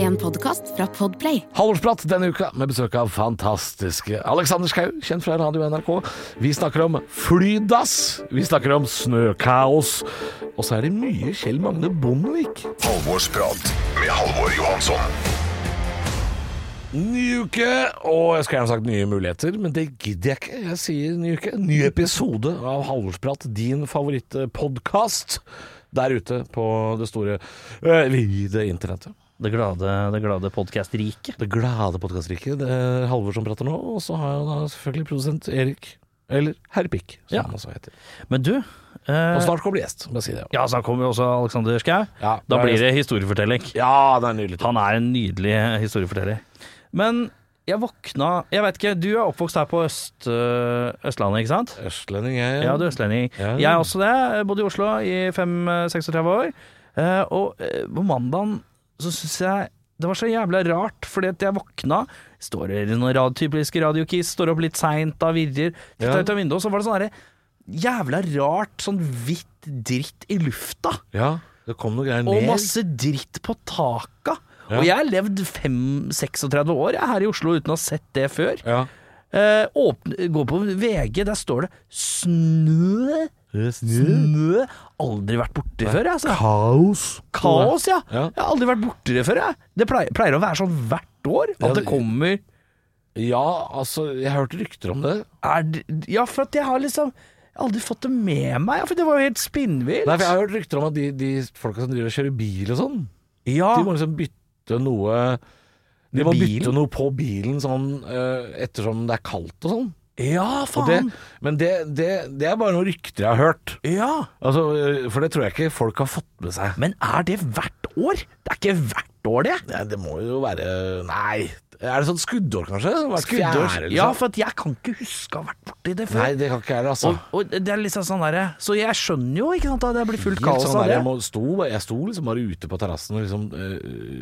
En podkast fra Podplay. Halvorsprat denne uka med besøk av fantastiske Alexander Schou, kjent fra Radio NRK. Vi snakker om flydass, vi snakker om snøkaos, og så er det mye Kjell Magne Bondevik. Halvorsprat med Halvor Johansson. Ny uke, og jeg skulle gjerne sagt nye muligheter, men det gidder jeg ikke. Jeg sier ny uke. Ny episode av Halvorsprat, din favorittpodkast der ute på det store, øh, vide internettet. Det glade, det glade podkastriket. Det glade podkastriket. Det er Halvor som prater nå, og så har jeg da selvfølgelig produsent Erik. Eller Herr Pikk, som Ja. han også heter. Men du eh, Og snart kommer det gjest, må jeg si det. Ja, så kommer jo også Alexander Schou. Ja, da det er blir det historiefortelling. Ja, det er nydelig. Han er en nydelig eh, historieforteller. Men jeg våkna Jeg vet ikke, du er oppvokst her på øst, øh, Østlandet, ikke sant? Østlending, jeg. Ja, du er østlending. Ja. Jeg er også det. Jeg bodde i Oslo i 5-36 år. Eh, Og eh, på mandagen så syns jeg det var så jævla rart, fordi at jeg våkna Står det noen radio, typiske radiokiss, står opp litt seint da, virrer. Ja. Titta ut av vinduet, så var det sånn derre jævla rart, sånn hvitt dritt i lufta. Ja, det kom noen greier ned. Og masse dritt på taka. Ja. Og jeg har levd 5-36 år jeg, her i Oslo uten å ha sett det før. Ja. Eh, åpne, gå på VG, der står det 'snø'. Snø. Aldri vært borti før, jeg. Altså. Kaos. Kaos, ja. Ja. Jeg har aldri vært borti det før, jeg. Det pleier, pleier å være sånn hvert år. At Ja, det det- kommer Ja, altså, jeg har hørt rykter om det. er, det- Ja, for at jeg har liksom jeg har aldri fått det med meg, ja, for det var jo helt spinnvilt. Nei, for jeg har hørt rykter om at de, de folka som driver og kjører bil og sånn, ja. de må liksom bytte noe De Ah. Med må bilen? bytte noe på bilen sånn eh, ettersom det er kaldt og sånn. ja, Og det, faen. men det, det, det er bare noen rykter jeg har hørt. ja. Altså, eh, for det tror jeg ikke folk har fått med seg. Men er det hvert år? Det er ikke hvert år, det. Nei, det må jo være Nei. Er det sånn skuddår, kanskje? Hvert fjerde eller Ja, sånn? for at jeg kan ikke huske å ha vært borti det før. Nei, det kan ikke jeg, altså. Og, og det er liksom sånn derre Så jeg skjønner jo ikke sant at det blir fullt Helt kaos sånn av der, det. jeg, må, sto, jeg sto liksom bare ute på terrassen og liksom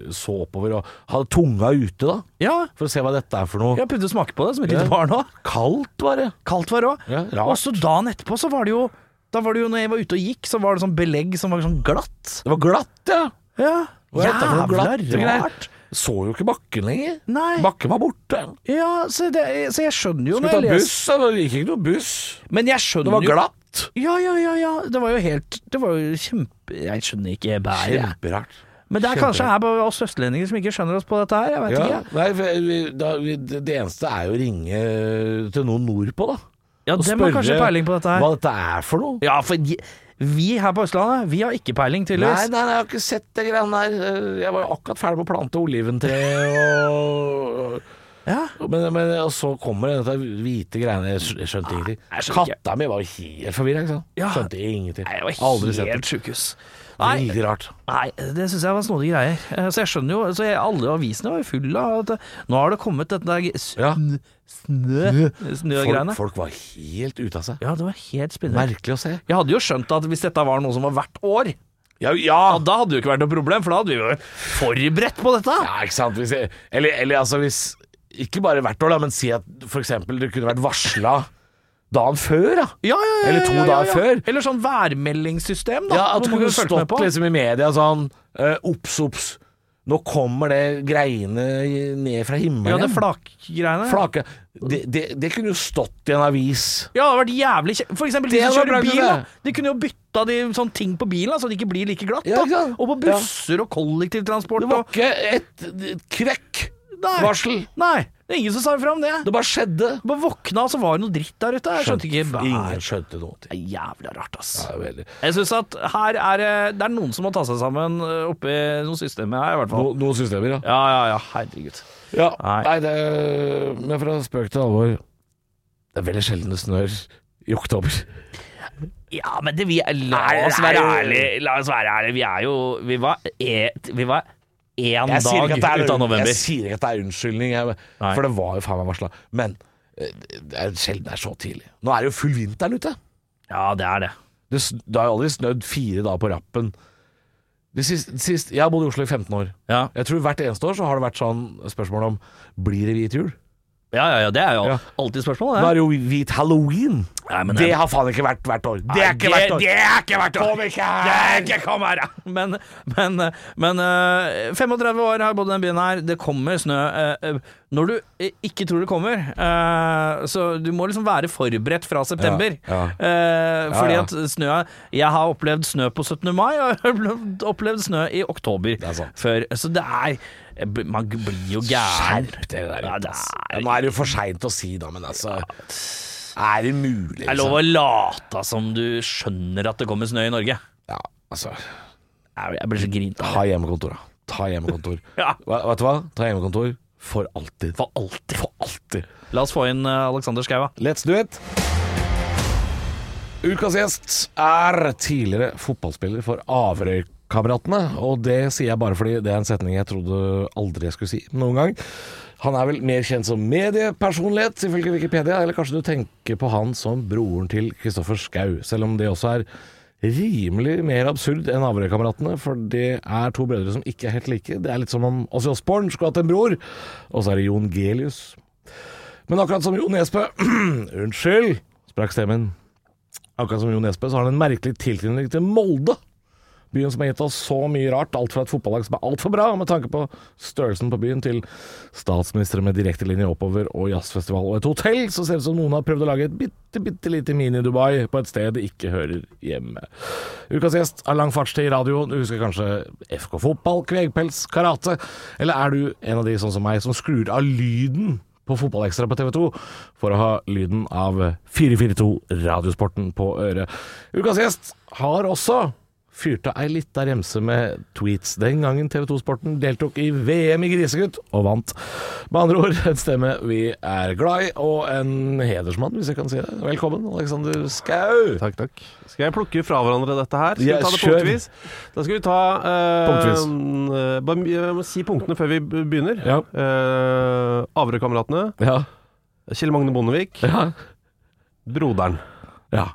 eh, så oppover og hadde tunga ute, da. Ja, For å se hva dette er for noe. jeg prøvde å smake på det som et Ja. lite barn òg. Kaldt, bare. Kaldt var det òg. Ja, rart. og så dagen etterpå så var det jo Da var det jo når jeg var ute og gikk, så var det sånn belegg som var sånn glatt. Det var glatt, ja. Ja, Hva er dette for noe glatt Jævla greier? Så jo ikke bakken lenger. Nei. Bakken var borte. Ja, så, det, så jeg skjønner jo Skulle når ta jeg buss, leser da. det gikk ikke noe buss. Men jeg Det skjønner var glatt. jo Ja, ja, ja, ja. Det var jo helt Det var jo kjempe Jeg skjønner ikke bæret. jeg. Kjemperart. Men det er kanskje her bare oss østlendinger som ikke skjønner oss på dette her. Jeg vet Ja, ikke. nei, for eh, vi, da, vi, det eneste er jo å ringe eh, til noen nordpå, da. Ja, Og dem har kanskje spørre peiling på dette her. Hva dette er for noe. Ja, for de- vi her på Østlandet, vi har ikke peiling, Nei, tydeligvis. nei, nei, jeg har ikke sett det greiene der. Eh, Jeg var jo akkurat ferdig med å plante oliventre, og, Ja. og men, men, og så kommer dette hvite greiene. Jeg skj- jeg skjønte ingenting. Ah, jeg skjønner ikke. Katta mi var jo helt forvirra, ikke sant. Ja. Skjønte ingenting. Nei, det var Aldri sett det. helt sjukehus. Nei, Veldig rart. nei, det syns jeg var snodige greier. Eh, Så jeg skjønner jo så jeg, Alle avisene var jo fulle av at eh, nå har det kommet dette der Ja. sn- snø Folk, snøgreiene. folk var helt ute av seg. Ja, det var helt spinnende. Merkelig å se. Jeg hadde jo skjønt at hvis dette var noe som var hvert år, Ja, ja. ja, da hadde det jo ikke vært noe problem, for da hadde vi jo vært forberedt på dette. Ja, ikke sant? Hvis jeg, eller, eller altså hvis Ikke bare hvert år, da, men si at f.eks. det kunne vært varsla dagen før. da Ja, ja, ja, ja, Eller to ja, ja, dager ja. før. Eller sånn værmeldingssystem, da. Ja, At hvor det man kunne kunne fulgt med stått på. liksom i media sånn eh, Ops, ops. Nå kommer det greiene i- ned fra Ja, himmelen. det flakgreiene. Flake. Det, det, det kunne jo stått i en avis. Ja, det hadde vært jævlig kjekt. For eksempel de Det som hadde vært kjører bil. bra, Da. det. De kunne jo bytta de sånne ting på bilen, da, så det ikke blir like glatt. Ja, Da. ikke sant? Og på busser og kollektivtransport. Det var og... ikke et, et kvekk Nei. varsel. Nei, det er ingen som sa ifra om det. Det bare skjedde. Bare våkna, og så var det noe dritt der ute. Jeg skjønte ikke hva Ingen er- skjønte noe. Det er jævla rart, ass. Det er veldig- Jeg syns at her er det- det er noen som må ta seg sammen eh, oppi noen systemer her, i hvert fall. No, noen systemer, ja. Ja, ja, ja, herregud. Ja, Nei. nei, det Men fra spøk til alvor Det er veldig sjelden det snør i oktober. Ja, men det, vi, la, Nei, oss nei, være nei. ærlige, la oss være ærlige. Vi er jo Vi var, et, vi var én dag ut av november. jeg sier ikke at det er unnskyldning, jeg, Nei. for det var jo faen meg varsla. Men eh, det er sjelden det er så tidlig. Nå er det jo full vinter ute. Ja, det er det. Det, s- det har jo aldri snødd fire dager på rappen. Det siste, sist, jeg har bodd i Oslo i 15 år. Ja. Jeg tror Hvert eneste år så har det vært sånn spørsmål om Blir det hvit jul. Ja, ja, ja, det er jo Ja. alltid spørsmål. Nå Det. er det jo hvit halloween. Nei, men det jeg- har faen ikke vært hvert år. Det Nei, er ikke det- hvert år. det er ikke hvert år. Kom ikke her! Ikke kom her, ja! Men, men, men øh, 35 år har jeg bodd i denne byen her. Det kommer snø øh, øh, når du øh, ikke tror det kommer. øh, så du må liksom være forberedt fra september. ja. Øh, fordi Ja, ja. at snø Jeg har opplevd snø på 17. mai, og jeg har opplevd snø i oktober er sant. før. Så det er eh, Man blir jo gæren. Skjerp deg der. Ja, ute, det ass. er- Ja, Nå er det jo for seint å si, da, men altså Er det mulig? liksom? Det er lov å late som du skjønner at det kommer snø i Norge. Ja, altså Jeg jeg blir så grint av det. Ta hjemmekontor, da. Ta hjemmekontor. Ja. Hva- Vet du hva? Ta hjemmekontor for alltid. For alltid. For alltid. La oss få inn eh, Alexander Schou, da. Let's do it! Ukas gjest er tidligere fotballspiller for Averøykameratene. Og det sier jeg bare fordi det er en setning jeg trodde aldri jeg skulle si noen gang. Han er vel mer kjent som mediepersonlighet, ifølge Wikipedia. Eller kanskje du tenker på han som broren til Kristoffer Schau, selv om det også er rimelig mer absurd enn Averøykameratene, for det er to brødre som ikke er helt like. Det er litt som om Åse Osborn skulle hatt en bror, og så er det Jon Gelius. Men akkurat som Jo Nesbø Unnskyld, sprakk stemmen. Akkurat som Jo Nesbø så har han en merkelig tilknytning til Molde. Byen som har gitt oss så mye rart, alt fra et fotballag som er altfor bra med tanke på størrelsen på byen, til statsministre med direktelinje oppover og jazzfestival og et hotell, så ser det ut som noen har prøvd å lage et bitte, bitte lite mini-Dubai på et sted det ikke hører hjemme. Ukas gjest har lang fartstid i radioen. Du husker kanskje FK fotball, kvegpels, karate? Eller er du en av de sånn som meg som skrur av lyden på Fotballekstra på TV 2 for å ha lyden av 442 Radiosporten på øret? Ukas gjest har også fyrt av ei lita remse med tweets den gangen TV 2-sporten deltok i VM i Grisegutt og vant. Med andre ord en stemme vi er glad i, og en hedersmann, hvis jeg kan si det. Velkommen, Alexander Skau. Takk, takk. Skal jeg plukke fra hverandre dette her? Skal Ja, vi ta det kjør. punktvis? Da skal vi ta eh, Punktvis. eh, bare, Jeg må si punktene før vi b- begynner. Ja. Eh, Averøykameratene. Ja. Kjell Magne Bondevik. ja. Broderen. Ja.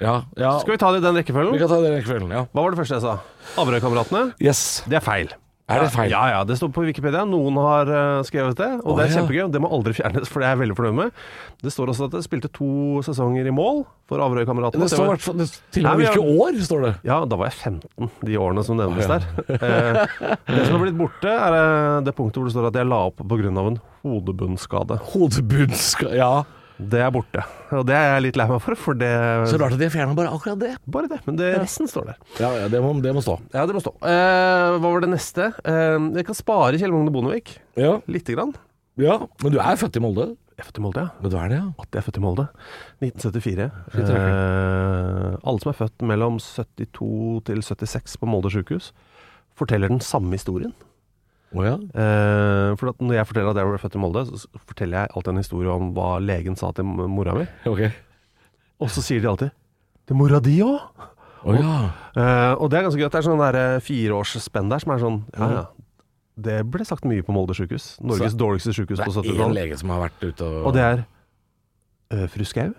Ja, ja. Skal vi ta det i den vi rekkefølgen? kan ta det i kvelden, ja. Hva var det første jeg sa? Averøykameratene. Yes. Det er feil. Er det feil? Ja, ja. Det står på Wikipedia. Noen har eh, skrevet det, og Å, det ja. er kjempegøy. Det må aldri fjernes, for det er jeg veldig fornøyd med. Det står også at det spilte to sesonger i mål for Det Averøykameratene. Det står var- hvert fall- det- til og Nei, med men hvilke år, står det. Ja, da var jeg 15 de årene som Å, nevnes ja. der. Eh, det som har blitt borte, er eh, det punktet hvor det står at jeg la opp pga. en hodebunnskade. Hodebunnskade Ja. Det er borte. Og det er jeg litt lei meg for, for det Så rart at de har fjerna bare akkurat det. Bare det. Men det, resten står der. Ja, ja det, må, det må stå. Ja, det må stå. Eh, hva var det neste? Eh, jeg kan spare Kjell Magne Bondevik Ja. lite grann. ja. Men du er født i Molde? Jeg er født i Molde, ja. Men du er det, ja. At jeg er født i Molde. 1974. Fint Eh, alle som er født mellom 72 til 76 på Molde sjukehus, forteller den samme historien. Å ja. Eh, for at når jeg forteller at jeg ble født i Molde, så s- forteller jeg alltid en historie om hva legen sa til m- mora mi. Ok. Og så sier de alltid 'til mora di òg'! Å ja. Eh, og det er ganske gøy. at Det er sånn der, eh, fireårsspenn der som er sånn Ja, ja. Det ble sagt mye på Molde sjukehus. Norges Så- dårligste sjukehus Det på er én 70-tallet. lege som har vært ute og Og det er «Eh, Fru Skau,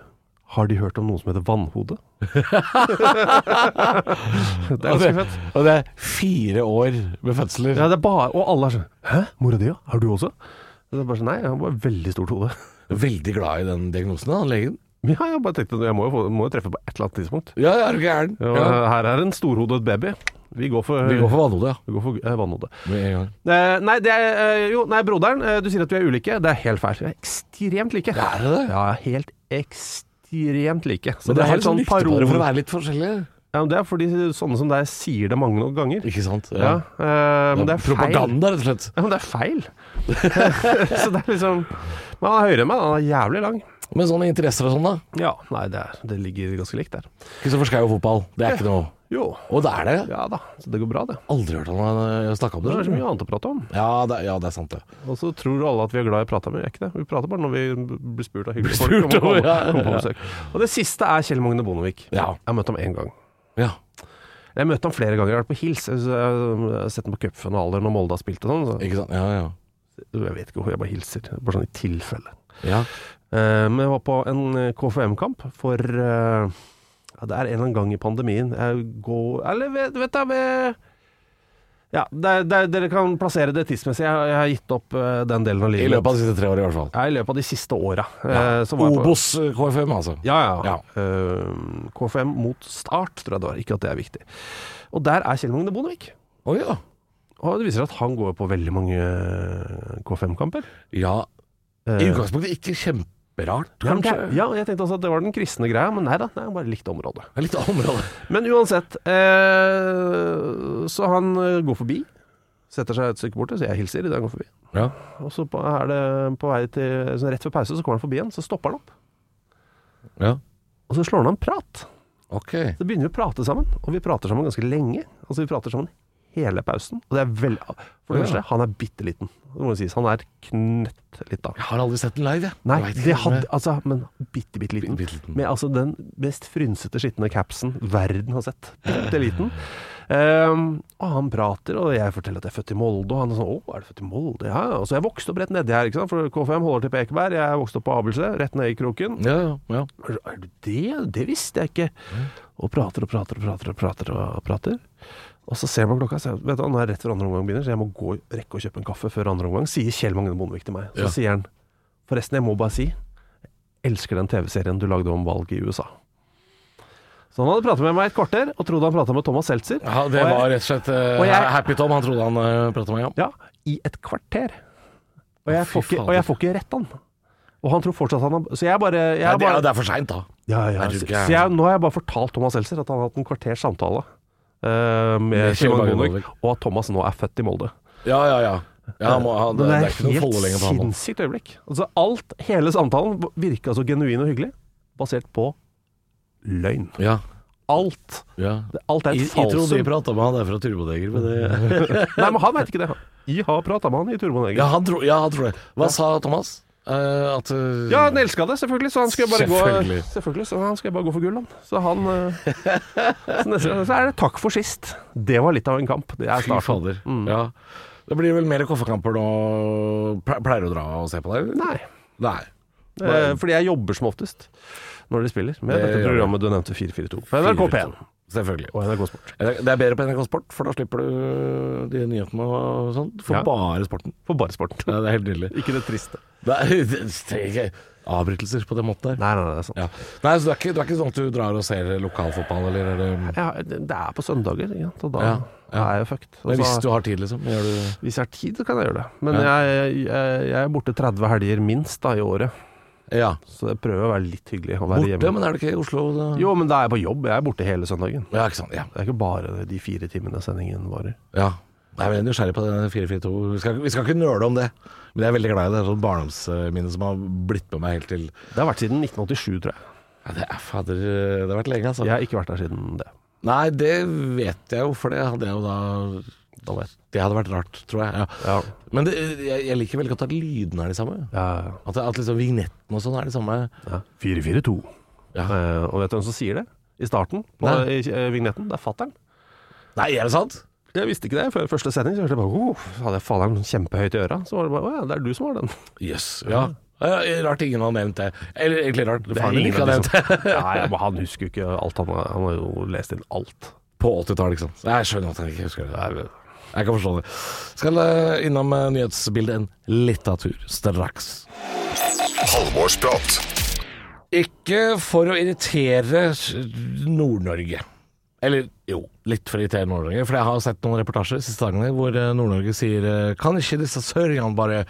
har De hørt om noen som heter Vannhode? det er Og ganske det- fett. og det er fire år med fødsler. Ja, det er bare, og alle er sånn 'Hæ, mora di òg? Har du også?' Og så er det bare sånn, Nei, jeg har bare veldig stort hode. Veldig glad i den diagnosen, da, han legen. Ja, jeg bare tenkte Jeg må jo, få, må jo treffe på et eller annet tidspunkt. Ja, ja, er du gæren? Og Ja. Her er en storhodet baby. Vi går for, Vi går for vannhodet, ja. vi går for, eh, vannhodet. Med en gang. Eh, nei, det er, eh, jo, nei, broderen, eh, du sier at vi er ulike. Det er helt feil. Vi er ekstremt like. Er det det? Ja, helt ekstremt like. Så Men det dere har er helt liksom sånn lykte på dere parol. for å være litt forskjellige. Ja, men det er fordi sånne som deg sier det mange nok ganger. Ikke sant? Ja, eh, men det er feil. Propaganda, rett og slett. Ja, men det er feil. Så det er liksom Men han er høyere enn meg. Han er jævlig lang. Men sånne interesser og sånn, da? Ja, nei, det, er, det ligger ganske likt der. Kristoffer Schau og fotball, det er ikke noe Jo. Og det er det. Ja da. Så det går bra, det. Aldri hørt han eh, snakke om Det er så det. mye annet å prate om. Ja det, ja, det er sant, det. Og så tror alle at vi er glad i å prate, men vi er ikke det. Vi prater bare når vi blir spurt av hyggelige folk. Blir spurt om å komme- om, ja. komme på besøk. Og det siste er Kjell Magne Bondevik. Ja. Jeg har møtt ham én gang. Ja. Jeg møtte ham flere ganger. Jeg har vært på Hils. Jeg har sett ham på cupfinaler når Molde har spilt og sånn. Så Ikke sant? Ja, ja. jeg vet ikke hvor jeg bare hilser. Bare sånn i tilfelle. ja. Eh, Men jeg var på en KFM-kamp for eh, ja, Det er en eller annen gang i pandemien. Jeg går Eller vet, vet jeg ved Ja, det, det, dere kan plassere det tidsmessig. Jeg, jeg har gitt opp eh, den delen av I livet. løpet av de siste tre årene i hvert fall. ja, I løpet av de siste åra. eh, så var jeg på- Obos eh, KFM, altså. Ja, ja. Eh, KFM mot Start, tror jeg det var. Ikke at det er viktig. Og der er Kjell Magne Bondevik. Å ja. Og det viser seg at han går på veldig mange eh, KFM-kamper. ja. Eh, I utgangspunktet ikke kjemperart, ja, men det- kanskje. ja, jeg tenkte altså at det var den kristne greia, men nei da, det er bare likt område. Det er Litt område. Men uansett, eh, så han eh, går forbi. Setter seg et stykke borte, så jeg hilser idet han går forbi. Ja. Og så på- er det på vei til sånn Rett før pause så kommer han forbi igjen, så stopper han opp. ja. Og så slår han av en prat. Ok. Så begynner vi å prate sammen, og vi prater sammen ganske lenge. Altså Vi prater sammen hele pausen. Og det er vel For det Ja. første, han er bitte liten. Det må jo sies. Han er knøtt liten. Jeg har aldri sett den live, jeg. Nei, Jeg vet ikke det om hadde jeg- Altså, men bitte, bitte liten. Bitte liten. Med altså den mest frynsete, skitne capsen verden har sett. Bitte liten. Ehm, og han prater, og jeg forteller at jeg er født i Molde, og han er sånn 'Å, er du født i Molde?' Ja, ja. Og så jeg vokste opp rett nedi her, ikke sant? for KFM holder til på Ekeberg. Jeg vokste opp på Abelse, rett ned i kroken. Ja, ja, ja. Er er du det? Det visste jeg ikke. Og prater og prater og prater og prater. Og prater. Og så ser man klokka, så jeg, vet du, hva, nå er det rett før andre omgang begynner, så jeg må gå rekke å kjøpe en kaffe før andre omgang, sier Kjell Magne Bondevik til meg. Så Ja. sier han Forresten, jeg må bare si, jeg elsker den TV-serien du lagde om valg i USA. Så han hadde pratet med meg et kvarter, og trodde han pratet med Thomas Seltzer. Ja, det Og jeg- var rett og slett eh, og jeg- Happy Tom han trodde han uh, prata med. Ja. Ja, i et kvarter. Og jeg fy får ikke, fader. og jeg får ikke rett han. Og han tror fortsatt han har Så jeg bare jeg Nei, det, bare- er, det er for seint, da. Ja, ja. Er du Så, gæren? så jeg, nå har jeg bare fortalt Thomas Seltzer at han har hatt en kvarters samtale eh, med Med Kjell Kjell Magne Magne Bondevik, og at Thomas nå er født i Molde. Ja, ja, ja. ja han må, han, det, Men det er ikke noe folde helt lenger på ham. sinnssykt øyeblikk. Altså alt, hele samtalen virka så genuin og hyggelig, basert på løgn. Ja, Alt. ja. Det- Alt er Jeg, et jeg trodde vi falsum. prata med han der fra Turbodeger, men det Nei, men han vet ikke det. Jeg har prata med han i Turboneger. Ja, Ja. han tror, ja, han tror det. Hva sa Thomas? Eh, at eh, han elska det, selvfølgelig, så han skal bare Selvfølgelig. gå Selvfølgelig, så han skal bare gå for gull, han. Så han eh, så, neste, gang så er det takk for sist. Det var litt av en kamp. Det er Fy starten. fader. Ja. Det blir vel mer kaffekamper nå. Ple- Pleier du å dra og se på det? eller? Nei. Nei. Eh, fordi jeg jobber som oftest når de spiller, med Det dette gjør programmet du nevnte, 442. På NRK P1 Selvfølgelig. Eh, og NRK Sport. Det er bedre på NRK Sport, for da slipper du eh, de nyhetene og sånt. For Ja. bare sporten. For bare sporten. Ja, det er helt nydelig. Ikke det triste. Det er, det er ikke avbrytelser på den måten der. Nei, nei, nei, det er sant. Ja. Nei, så det er, ikke, det er ikke sånn at du drar og ser lokalfotball, eller er det Ja, det det er på søndager, ikke sant? og da Ja, ja. er jeg fucked. Og Men så- hvis du har tid, liksom, gjør du hvis jeg har tid, så kan jeg gjøre det. Men Ja. jeg, jeg, jeg er borte 30 helger minst da i året, Ja. så jeg prøver å være litt hyggelig og være Borte, hjemme. men er det ikke i Oslo? Da? Jo, men da er jeg på jobb. Jeg er borte hele søndagen. Ja, ikke sant. Ja. Det er ikke bare de fire timene sendingen varer. ja. Nei, men jeg er nysgjerrig på den 442. Vi skal, vi skal ikke nøle om det. Men jeg er veldig glad i det. Det er sånn barndomsminne som har blitt med meg helt til Det har vært siden 1987, tror jeg. ja, Det er fader Det har vært lenge, altså. Jeg har ikke vært der siden det. Nei, det vet jeg jo, for det hadde jeg jo da Da var jeg. Det hadde vært rart, tror jeg. Ja. Ja, Men det, jeg, jeg liker veldig godt at lydene er de samme. ja, ja. At, at liksom vignetten og sånn er de samme. Ja. 4-4-2. Ja. Eh, og vet du hvem som sier det? I starten, på, Nei. i eh, vignetten. Det er fattern. Nei, er det sant? Jeg visste ikke det før første sending. Så hørte jeg bare, oh, hadde jeg fattern kjempehøyt i øra. Så var det bare Å ja, det er du som har den. Jøss. Yes. Ja. Ja, Rart ingen har nevnt det. Eller egentlig rart faren din ingen ikke har av de nevnt det. Nei, liksom. men han husker jo ikke alt. Han har, han har jo lest inn alt. På 80-tallet, ikke sant. Nei, Jeg skjønner at han ikke husker det. Jeg- Jeg kan forstå det. Skal eh, innom eh, nyhetsbildet en lita tur straks. Halvorsprat. Ikke for å irritere Nord-Norge. Eller jo, litt for å irritere Nord-Norge. For jeg har sett noen reportasjer de siste dagene hvor eh, Nord-Norge sier eh, Kan ikke disse søringene bare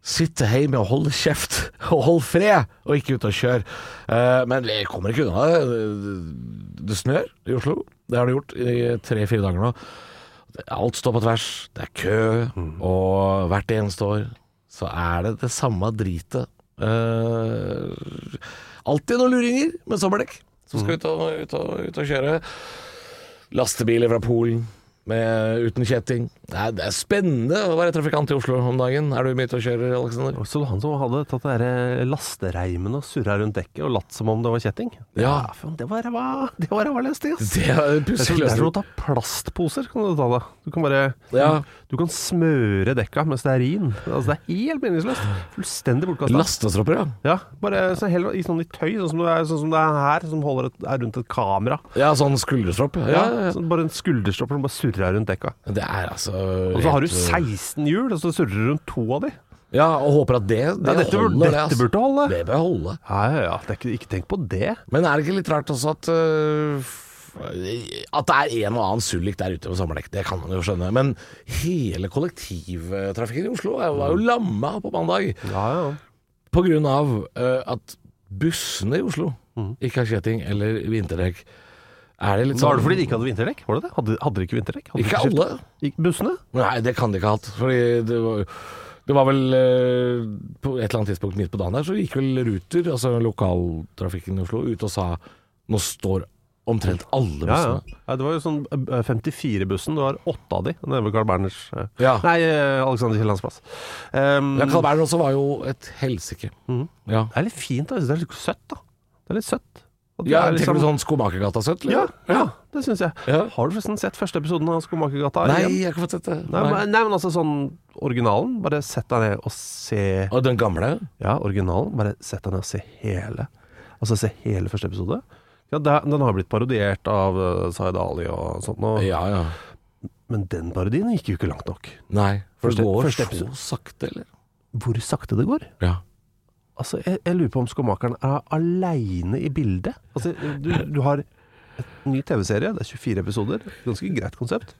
sitte hjemme og holde kjeft og holde fred, og ikke ut og kjøre? Eh, Men jeg kommer ikke unna det. Det snør i Oslo. Det har det gjort i tre-fire dager nå. Alt står på tvers. Det er kø, og hvert eneste år så er det det samme dritet. Eh, alltid noen luringer med sommerdekk som skal ut og, ut og, ut og kjøre. Lastebiler fra Polen med, uten kjetting. Det er, det er spennende å være trafikant i Oslo om dagen. Er du mye ute og kjører, Aleksander? Så det var han som hadde tatt de der lastereimene og surra rundt dekket og latt som om det var kjetting? Ja. faen, det var ræva Det var ræva løsning, ass. Det er en altså. Det er pussig som- det er som å løsning. ta plastposer, kan du ta det. Du kan bare Ja. Du kan smøre dekka med stearin. Altså, det er helt meningsløst. Fullstendig bortkasta. Lastestropper, ja. Ja, bare så hel, i sånn i tøy, sånn som, det er, sånn som det er her, som holder et, er rundt et kamera. Ja, sånn skulderstropp. Ja, ja, ja. Sånn, bare en skulderstropper som bare surrer surra rundt dekka. Det er altså Og så har du helt, uh, 16 hjul, og så surrer du rundt to av de. Ja, og håper at det, det Ja, dette, burde, holder, det, dette altså. burde holde. Det bør holde. Ja, ja, ja. Det er ikke, ikke tenk på det. Men er det ikke litt rart også at øh, f- At det er en og annen sullik der ute på sommerdekk, det kan man jo skjønne. Men hele kollektivtrafikken i Oslo er- Mm. var jo lamma på mandag Ja, ja. på grunn av øh, at bussene i Oslo Mm. ikke har kjetting eller vinterdekk. Er det litt sånn Var det fordi de ikke hadde vinterdekk? Var det det? Hadde, hadde de ikke vinterdekk? Hadde de Ikke skift- alle. Gikk Bussene? Nei, det kan de ikke ha hatt. Fordi det var det var vel øh, på et eller annet tidspunkt midt på dagen der, så gikk vel Ruter, altså lokaltrafikken i Oslo, ut og sa nå står omtrent alle Ja, bussene. ja. Nei, Det var jo sånn eh, 54-bussen, det var åtte av de nede ved Carl Berners eh, Ja. Nei, eh, Alexander Kiellands plass. Um, Ja, Carl Berner også var jo et helsike. Mhm. Ja. Det er litt fint, da. Jeg synes Det er litt søtt, da. Det er litt søtt. At det Ja, er tenker liksom- du sånn Skomakergata-søtt? ja, eller? ja, det syns jeg. Ja. Har du forresten sett første episoden av Skomakergata? Nei, igjen? jeg har ikke fått sett det. Nei, Nei. men- nei, men altså sånn originalen. Bare sett deg ned og se Og den gamle? Ja, originalen. Bare sett deg ned og se hele. Altså se hele første episode. Ja, det, den har blitt parodiert av eh, Zaid Ali og sånt, nå. Ja, ja. men den parodien gikk jo ikke langt nok. Nei. For Første- det går første så episode. sakte, eller? Hvor sakte det går? Ja. Altså, jeg, jeg lurer på om skomakeren er aleine i bildet. Altså, du, du har en ny TV-serie, det er 24 episoder. Ganske greit konsept.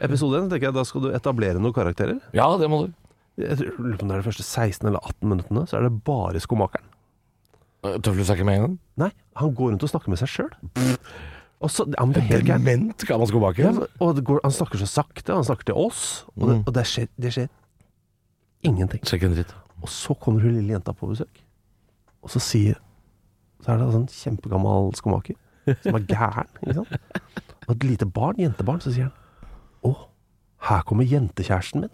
Episode 1, tenker jeg, da skal du etablere noen karakterer. ja, det må du. Jeg tror- lurer på om det er de første 16 eller 18 minuttene, så er det bare skomakeren. Eh, Tøflus er ikke med engang? Nei, han går rundt og snakker med seg sjøl. Og så, ja, men det er helt gærent. Dement gammel Ja, skomaker? men- og det går, han snakker så sakte, han snakker til oss, og det, og det, skjer, det skjer ingenting. Sjekk en dritt. Og så kommer hun lille jenta på besøk, og så sier Så er det en sånn kjempegammal skomaker som er gæren. Ikke sant? Og et lite barn, jentebarn, så sier han Å, her kommer jentekjæresten min.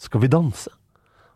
Skal vi danse?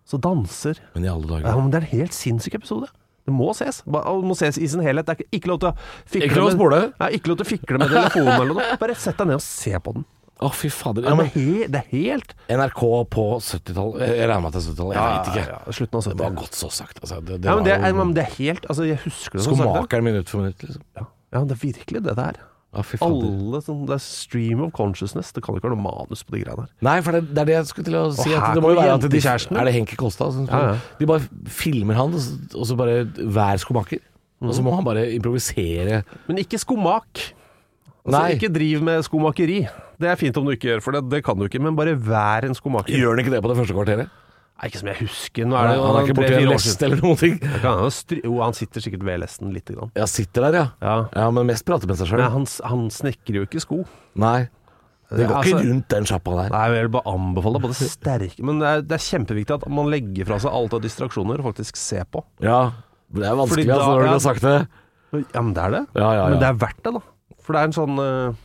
Så danser Men i alle ja, dager men Det er en helt sinnssyk episode. Det må ses. Ba- og Det må ses i sin helhet. Det er ikke- ikke lov til å fikle Ikke lov å med- spole. Nei, ikke lov til å fikle med telefonen eller noe. Bare sett deg ned og se på den. Å, fy fader. Ja, Ja, men, men he, det er helt NRK på 70-tallet Jeg regner med at det er 70-tallet, jeg veit ikke. Ja, ja, slutten av Det var 70-tallet. godt så sagt. Altså. Det, det Ja, men det, er- var men jo det er helt altså, Jeg husker det som sagt. Skomakeren minutt for minutt, liksom. Ja. ja, det er virkelig det det er. Å, fy fader. Alle sånn, Det er stream of consciousness. Det kan ikke være noe manus på de greiene her. Nei, for det, det er det jeg skulle til å si. her At det må jo kommer være at de, jentekjæresten. Er det Henki Kolstad? som Ja, ja. spiller? De bare filmer han, og så, og så bare hver skomaker. Og Mhm. så må han bare improvisere. Men ikke skomak. Altså, Nei. Ikke driv med skomakeri. Det er fint om du ikke gjør, for det, det kan du ikke. Men bare vær en skomaker. Gjør han ikke det på det første kvarteret? Nei, ikke som jeg husker. Nå er Nei, det jo han er ikke borti en tre-fire år lest siden. eller noen ting. Det kan hende han stry- Jo, han sitter sikkert ved lesten lite grann. Ja, sitter der, ja. Ja. Ja, Men mest prater med seg Men sjøl. han, s- han snekrer jo ikke sko. Nei. Det går Altså- ikke rundt den sjappa der. Nei, jeg vil bare anbefale på det sterke Men det er, det er kjempeviktig at man legger fra seg alt av distraksjoner og faktisk ser på. Ja. Det er vanskelig, Fordi da- altså, når du ja. har sagt det. Ja, men det er det. Ja, ja, Men det ja. er verdt det, da. For det er en sånn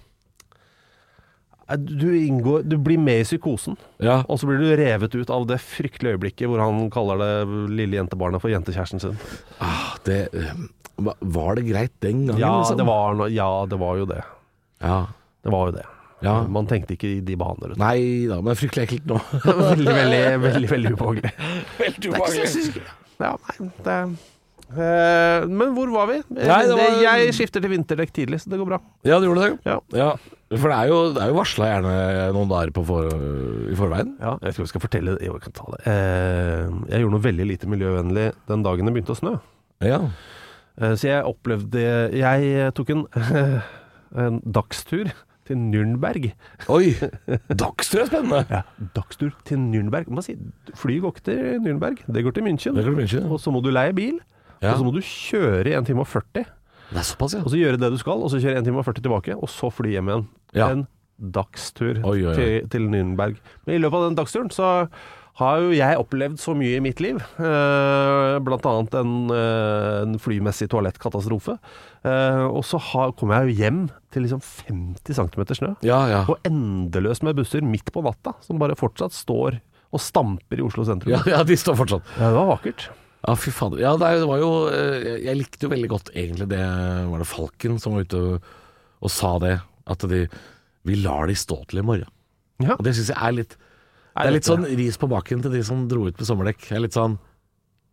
eh, du, inngår, du blir med i psykosen, ja. og så blir du revet ut av det fryktelige øyeblikket hvor han kaller det lille jentebarnet for jentekjæresten sin. Ah, det, eh, hva- var det greit den gangen? Ja, liksom? det var, no, ja, det var jo det. Ja. Det var jo det. ja. Man tenkte ikke i de baner. vet du. Nei da, men fryktelig ekkelt nå. Veldig, veldig, veldig, veldig ubehagelig. Veldig Ja, nei, det eh, Men hvor var vi? Nei, det var- Jeg skifter til vinterdekk tidlig, så det går bra. Ja, det gjorde det. Ja. Ja, for det er jo, det er jo varsla gjerne noen dager på for, i forveien. jeg tror vi skal fortelle Jo, jeg kan ta det. Eh, jeg gjorde noe veldig lite miljøvennlig den dagen det begynte å snø. Ja. Eh, så jeg opplevde Jeg tok en, en dagstur til Nürnberg. Oi! Dagstur er spennende! Ja, dagstur til Nürnberg. Må si, flyet går ikke til Nürnberg, det går til München. Det kan du ikke. Og så må du leie bil, Ja. og så må du kjøre i 1 time og 40. Det er såpass, ja. Og så gjøre det du skal, og så kjøre 1 time og 40 tilbake, og så fly hjem igjen. Ja. En dagstur Oi, oi, oi. Til, til Nürnberg. Men i løpet av den dagsturen så har jo jeg opplevd så mye i mitt liv. Eh, blant annet en, eh, en flymessig toalettkatastrofe. Eh, og så har, kom jeg jo hjem til liksom 50 cm snø. Ja, ja. Og endeløst med busser midt på natta, som bare fortsatt står og stamper i Oslo sentrum. Ja, ja, de står fortsatt. Ja, det var vakkert. Ja, fy fader. Ja, det er- det var jo eh, Jeg likte jo veldig godt egentlig det Var det Falken som var ute og, og sa det? At de Vi lar de stå til i morgen. Ja. Og det syns jeg er litt Det er litt sånn ris på baken til de som dro ut med sommerdekk. Det er litt sånn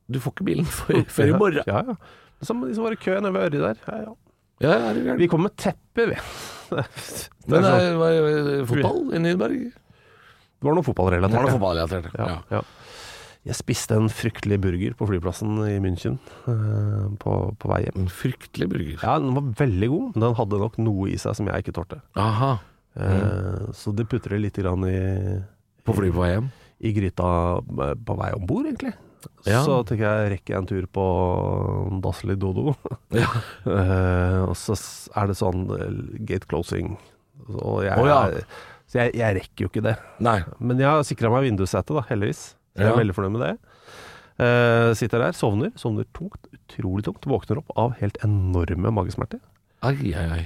Du får ikke bilen før, før sånn i morgen. liksom Ja, ja. Som de som var i kø nede ved Ørje der. Ja, ja. Ja, ja, det er Vi kom med teppe, vi. Det, Men er sånn, eh, hva- hva- fotball i Nyberg? det Det var var noe noe fotballrelatert. fotballrelatert. Ja. Ja. Ja. Jeg spiste en fryktelig burger på flyplassen i München eh, på, på vei hjem. En fryktelig burger. Ja, Den var veldig god, men den hadde nok noe i seg som jeg ikke tålte. Aha. Eh, Mm. Så det putrer litt grann i, På flyet på vei hjem? i gryta eh, på vei om bord, egentlig. Ja. Så tenker jeg rekker jeg en tur på Dasseli Dodo. Ja. Eh, og så s- er det sånn eh, gate closing. Og jeg, Å, ja. Så jeg, jeg rekker jo ikke det. Nei. Men jeg har sikra meg vindussete, da, heldigvis. Så jeg er Ja. veldig fornøyd med det. Eh, sitter der, sovner. Sovner tungt, utrolig tungt. Våkner opp av helt enorme magesmerter. Ai, ai, ai.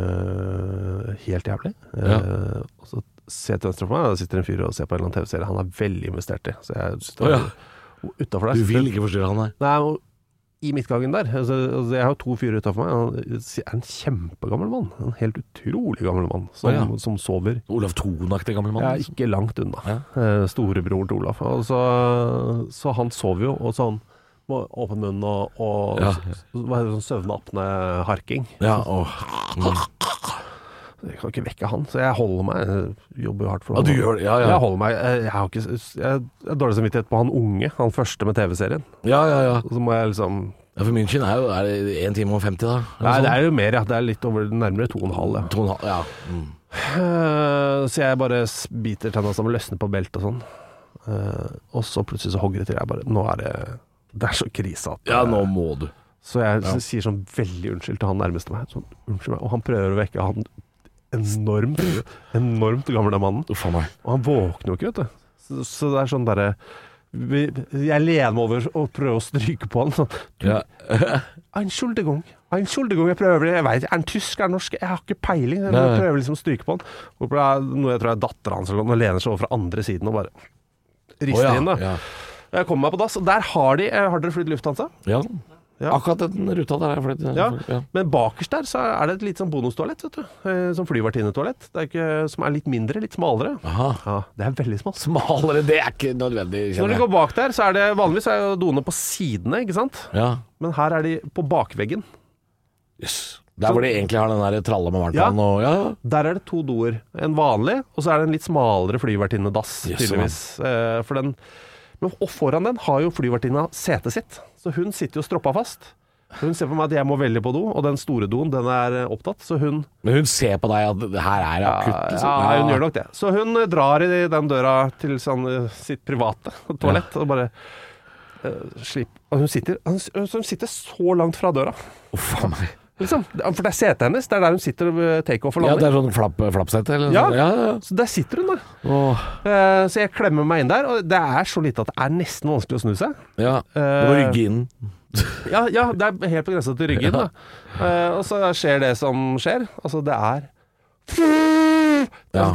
Eh, helt jævlig. Eh, Ja. Og så ser jeg til venstre for meg, og der sitter en fyr og ser på en eller annen TV-serie han er veldig investert i. Så jeg Å, står ja. utenfor der. Du sitter- vil ikke forstyrre han her. Nei, og i midtgangen der altså, altså, Jeg har jo to fyrer utafor meg. Han er en kjempegammel mann. En helt utrolig gammel mann som, Å, ja. som sover. Olav Thon-aktig gammel mann. Jeg er liksom. ikke langt unna. Ja. Eh, Storebroren til Olaf. Og så, så han sover jo, og så han må åpne munnen og, og Ja. s- hva heter det, sånn søvnapne-harking. Ja, og, mm. Jeg kan ikke vekke han, så jeg holder meg. Jeg jobber jo hardt for ja, å du holde meg. gjør det. Ja, ja. Jeg holder meg. Jeg, jeg har ikke s- jeg har dårlig samvittighet på han unge, han første med TV-serien. ja, ja, ja. Og Så må jeg liksom ja for München er jo er det sånn? 1 time og 50, da. Nei, det er jo mer, ja. Det er litt over nærmere to og en halv. Ja. To og en halv, ja. Mm. Eh, Så jeg bare s- biter tenna sammen, løsner på beltet og sånn. Eh, og så plutselig så hogger det til. Jeg bare Nå er det Det er så krise at eh, ja, nå må du. Så jeg s- sier sånn veldig unnskyld til han nærmeste meg. Sånn, unnskyld meg. Og han prøver å vekke han enormt, enormt gamle mannen. Uff a meg. Og han våkner jo ikke, vet du. Så, så det er sånn derre vi- Jeg lener meg over og prøver å stryke på han. Sånn, Ja. Entschuldigung. Entschuldigung, jeg prøver det. Jeg vet, er han tysk, er han norsk? Jeg har ikke peiling. Jeg Nei. prøver liksom å stryke på han. Og det er noe jeg tror er dattera hans eller noe, og lener seg over fra andre siden og bare rister Å, ja, inn. da. ja. Jeg kommer meg på dass, og der har de eh, Har dere flydd lufthansa? Ja. Ja. Akkurat den ruta der. er flytt- Ja. ja. Men bakerst der så er det et lite sånn bonustoalett, vet du. Eh, Som flyvertinnetoalett. Det er ikke, eh, som er litt mindre, litt smalere. Aha. Ja, det er veldig smalt. Smalere, det er ikke nødvendig, Når kjenner du jeg. går bak der, så er det vanligvis er jo doene på sidene, ikke sant? Ja. Men her er de på bakveggen. Yes. Der hvor de egentlig har den der tralla med varmtvann og ja, ja. Der er det to doer. En vanlig, og så er det en litt smalere flyvertinnedass, Jøsse, tydeligvis. Eh, For den, men, og foran den har jo flyvertinna setet sitt, så hun sitter jo stroppa fast. Hun ser på meg at jeg må veldig på do, og den store doen den er eh, opptatt, så hun Men hun ser på deg at det her er det akutt, liksom. Ja, hun gjør nok det. Så hun eh, drar i den døra til sånn, eh, sitt private toalett og bare eh, slipp. Og hun sitter, hun, hun sitter så langt fra døra, Uff a meg. liksom. For det er setet hennes, det er der hun sitter ved takeoff og Ja, det landing. er sånn flapp, flappsete, eller? Ja. sånn. ja, ja. så der sitter hun, da. Åh, Eh, Så jeg klemmer meg inn der, og det er så lite at det er nesten vanskelig å snu seg. ja. Du må rygge inn. Ja, ja det er helt på grensa til ryggen, Ja. da. Eh, Og så skjer det som skjer. Altså, det er Ja.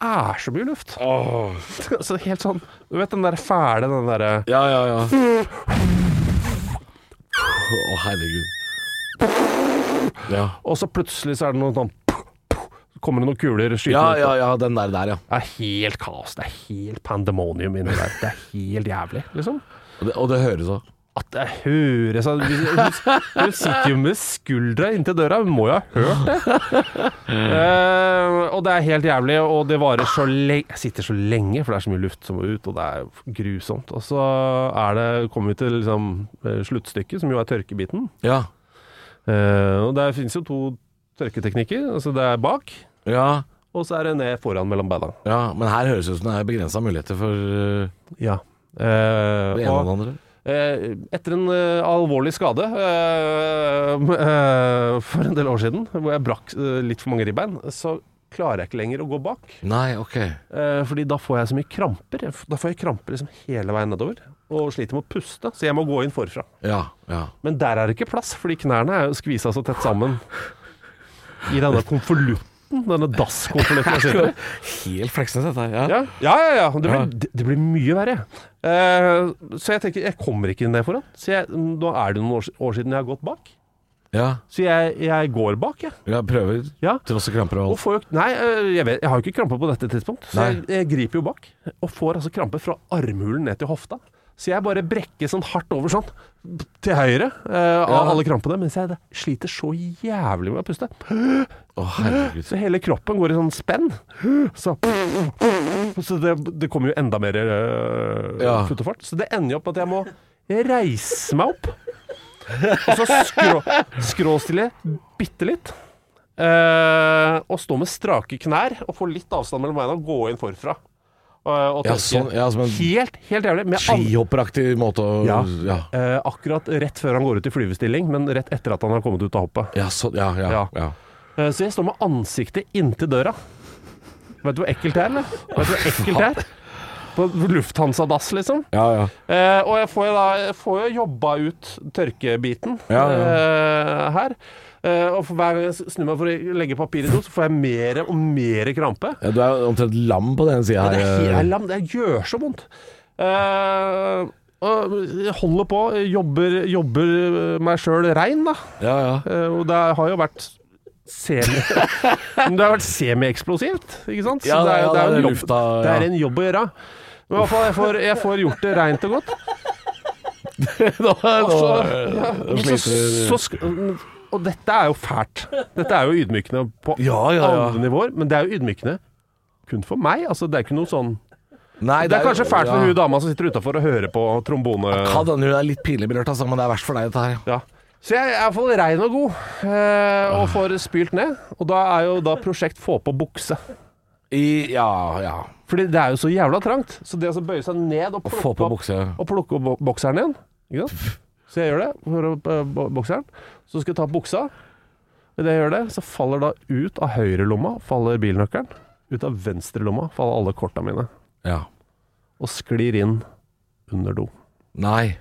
er så mye luft. Så helt sånn Du vet den der fæle, den derre Ja, ja, ja. Å, herregud. Ja. Og så plutselig så er det noe sånn Så kommer det noen kuler ja, skytende ut. ja, ja, den der, der, ja. Det er helt kaos. Det er helt pandemonium inni der. Det er helt jævlig, liksom. Og det, og det høres òg. At sånn, det høres Hun hun sitter jo med skuldra inntil døra, hun må jo ha hørt det. Eh, og det er helt jævlig, og det varer så lenge Jeg sitter så lenge, for det er så mye luft som må ut, og det er grusomt. Og så er det, kommer vi til liksom, eh, sluttstykket, som jo er tørkebiten. Ja. Eh, og der finnes jo to tørketeknikker. Altså det er bak, ja. og så er det ned foran mellom beina. Ja, men her høres det ut som det er begrensa muligheter for øh, Ja. Eh, det ene og det andre. Eh, etter en eh, alvorlig skade eh, eh, for en del år siden, hvor jeg brakk eh, litt for mange ribbein, så klarer jeg ikke lenger å gå bak. Nei, ok. Eh, fordi da får jeg så mye kramper. Jeg f- Da får jeg kramper liksom hele veien nedover, og sliter med å puste, så jeg må gå inn forfra. Ja, ja. Men der er det ikke plass, fordi knærne er jo skvisa så tett sammen i denne konvolutten, denne dasskonvolutten jeg sitter i. Helt fleksende, dette her. Ja. Ja, ja, ja. ja. Det, Ja. blir, Det, det blir mye verre. Eh, så jeg tenker, jeg kommer ikke ned foran. Så jeg, nå er det noen år, år siden jeg har gått bak. Ja. Så jeg, jeg går bak, jeg. ja prøver. Ja. Trosse kramper og Og alt. får jo, nei, eh, jeg, vet, jeg har jo ikke krampe på dette tidspunkt, så jeg, Nei. jeg griper jo bak. Og får altså krampe fra armhulen ned til hofta. Så jeg bare brekker sånn hardt over sånn, til høyre, eh, av alle krampene. Mens jeg sliter så jævlig med å puste. Å, herregud. Så hele kroppen går i sånn spenn. Så, så det, det kommer jo enda mer øh, Ja. futt og fart. Så det ender jo opp med at jeg må reise meg opp. Og så skrå, skråstille bitte litt. eh, og stå med strake knær og få litt avstand mellom beina og gå inn forfra. Og- og Ja, tørke. sånn, ja, som en Helt, helt jævlig. Med an- skihopperaktig måte å Ja. ja. eh, akkurat rett før han går ut i flyvestilling, men rett etter at han har kommet ut av hoppet. Ja, sånn, ja, ja, ja. Ja. Eh, Så jeg står med ansiktet inntil døra. Vet du hvor ekkelt det er, eller? Vet du hvor ekkelt det er? På Lufthansa-dass, liksom. ja, ja. Eh, og jeg får jo da jeg får jo jobba ut tørkebiten Ja, ja. eh, her. Eh, og for hver gang jeg snur meg for å legge papir i do, så får jeg mer og mer krampe. Ja, Du er omtrent lam på den sida Ja, det er helt jeg er her. lam. Det gjør så vondt. Eh, og jeg holder på, jobber, jobber meg sjøl rein, da. Ja, ja. Eh, Og det har jo vært semi Men det har vært semieksplosivt, ikke sant? Ja, er- ja, er det er en jobb, lufta, ja. det er en jobb å gjøre. Men i hvert fall, jeg får, jeg får gjort det reint og godt. Nå, Og så, nå så, så, sk- og dette er jo fælt. Dette er jo ydmykende på Ja, ja, ja. alle nivåer, men det er jo ydmykende kun for meg. Altså, det er ikke noe sånn Nei, Det er kanskje fælt for ja. hun dama som sitter utafor og hører på trombone... Kan hende hun er litt pinlig berørt, altså, men det er verst for deg, dette her. Ja. Så jeg er i hvert fall rein og god, eh, og får spylt ned. Og da er jo da prosjekt få på bukse. I, ja, ja. Fordi det er jo så jævla trangt. Så det å så bøye seg ned og plukke Få på opp- bukse. og plukke opp bo- bokseren igjen ikke sant? Så jeg gjør det, får opp eh, bo- bokseren. Så skal jeg ta opp buksa. Idet jeg gjør det, så faller da ut av høyrelomma faller bilnøkkelen. Ut av venstrelomma faller alle korta mine. Ja. Og sklir inn under do. Nei.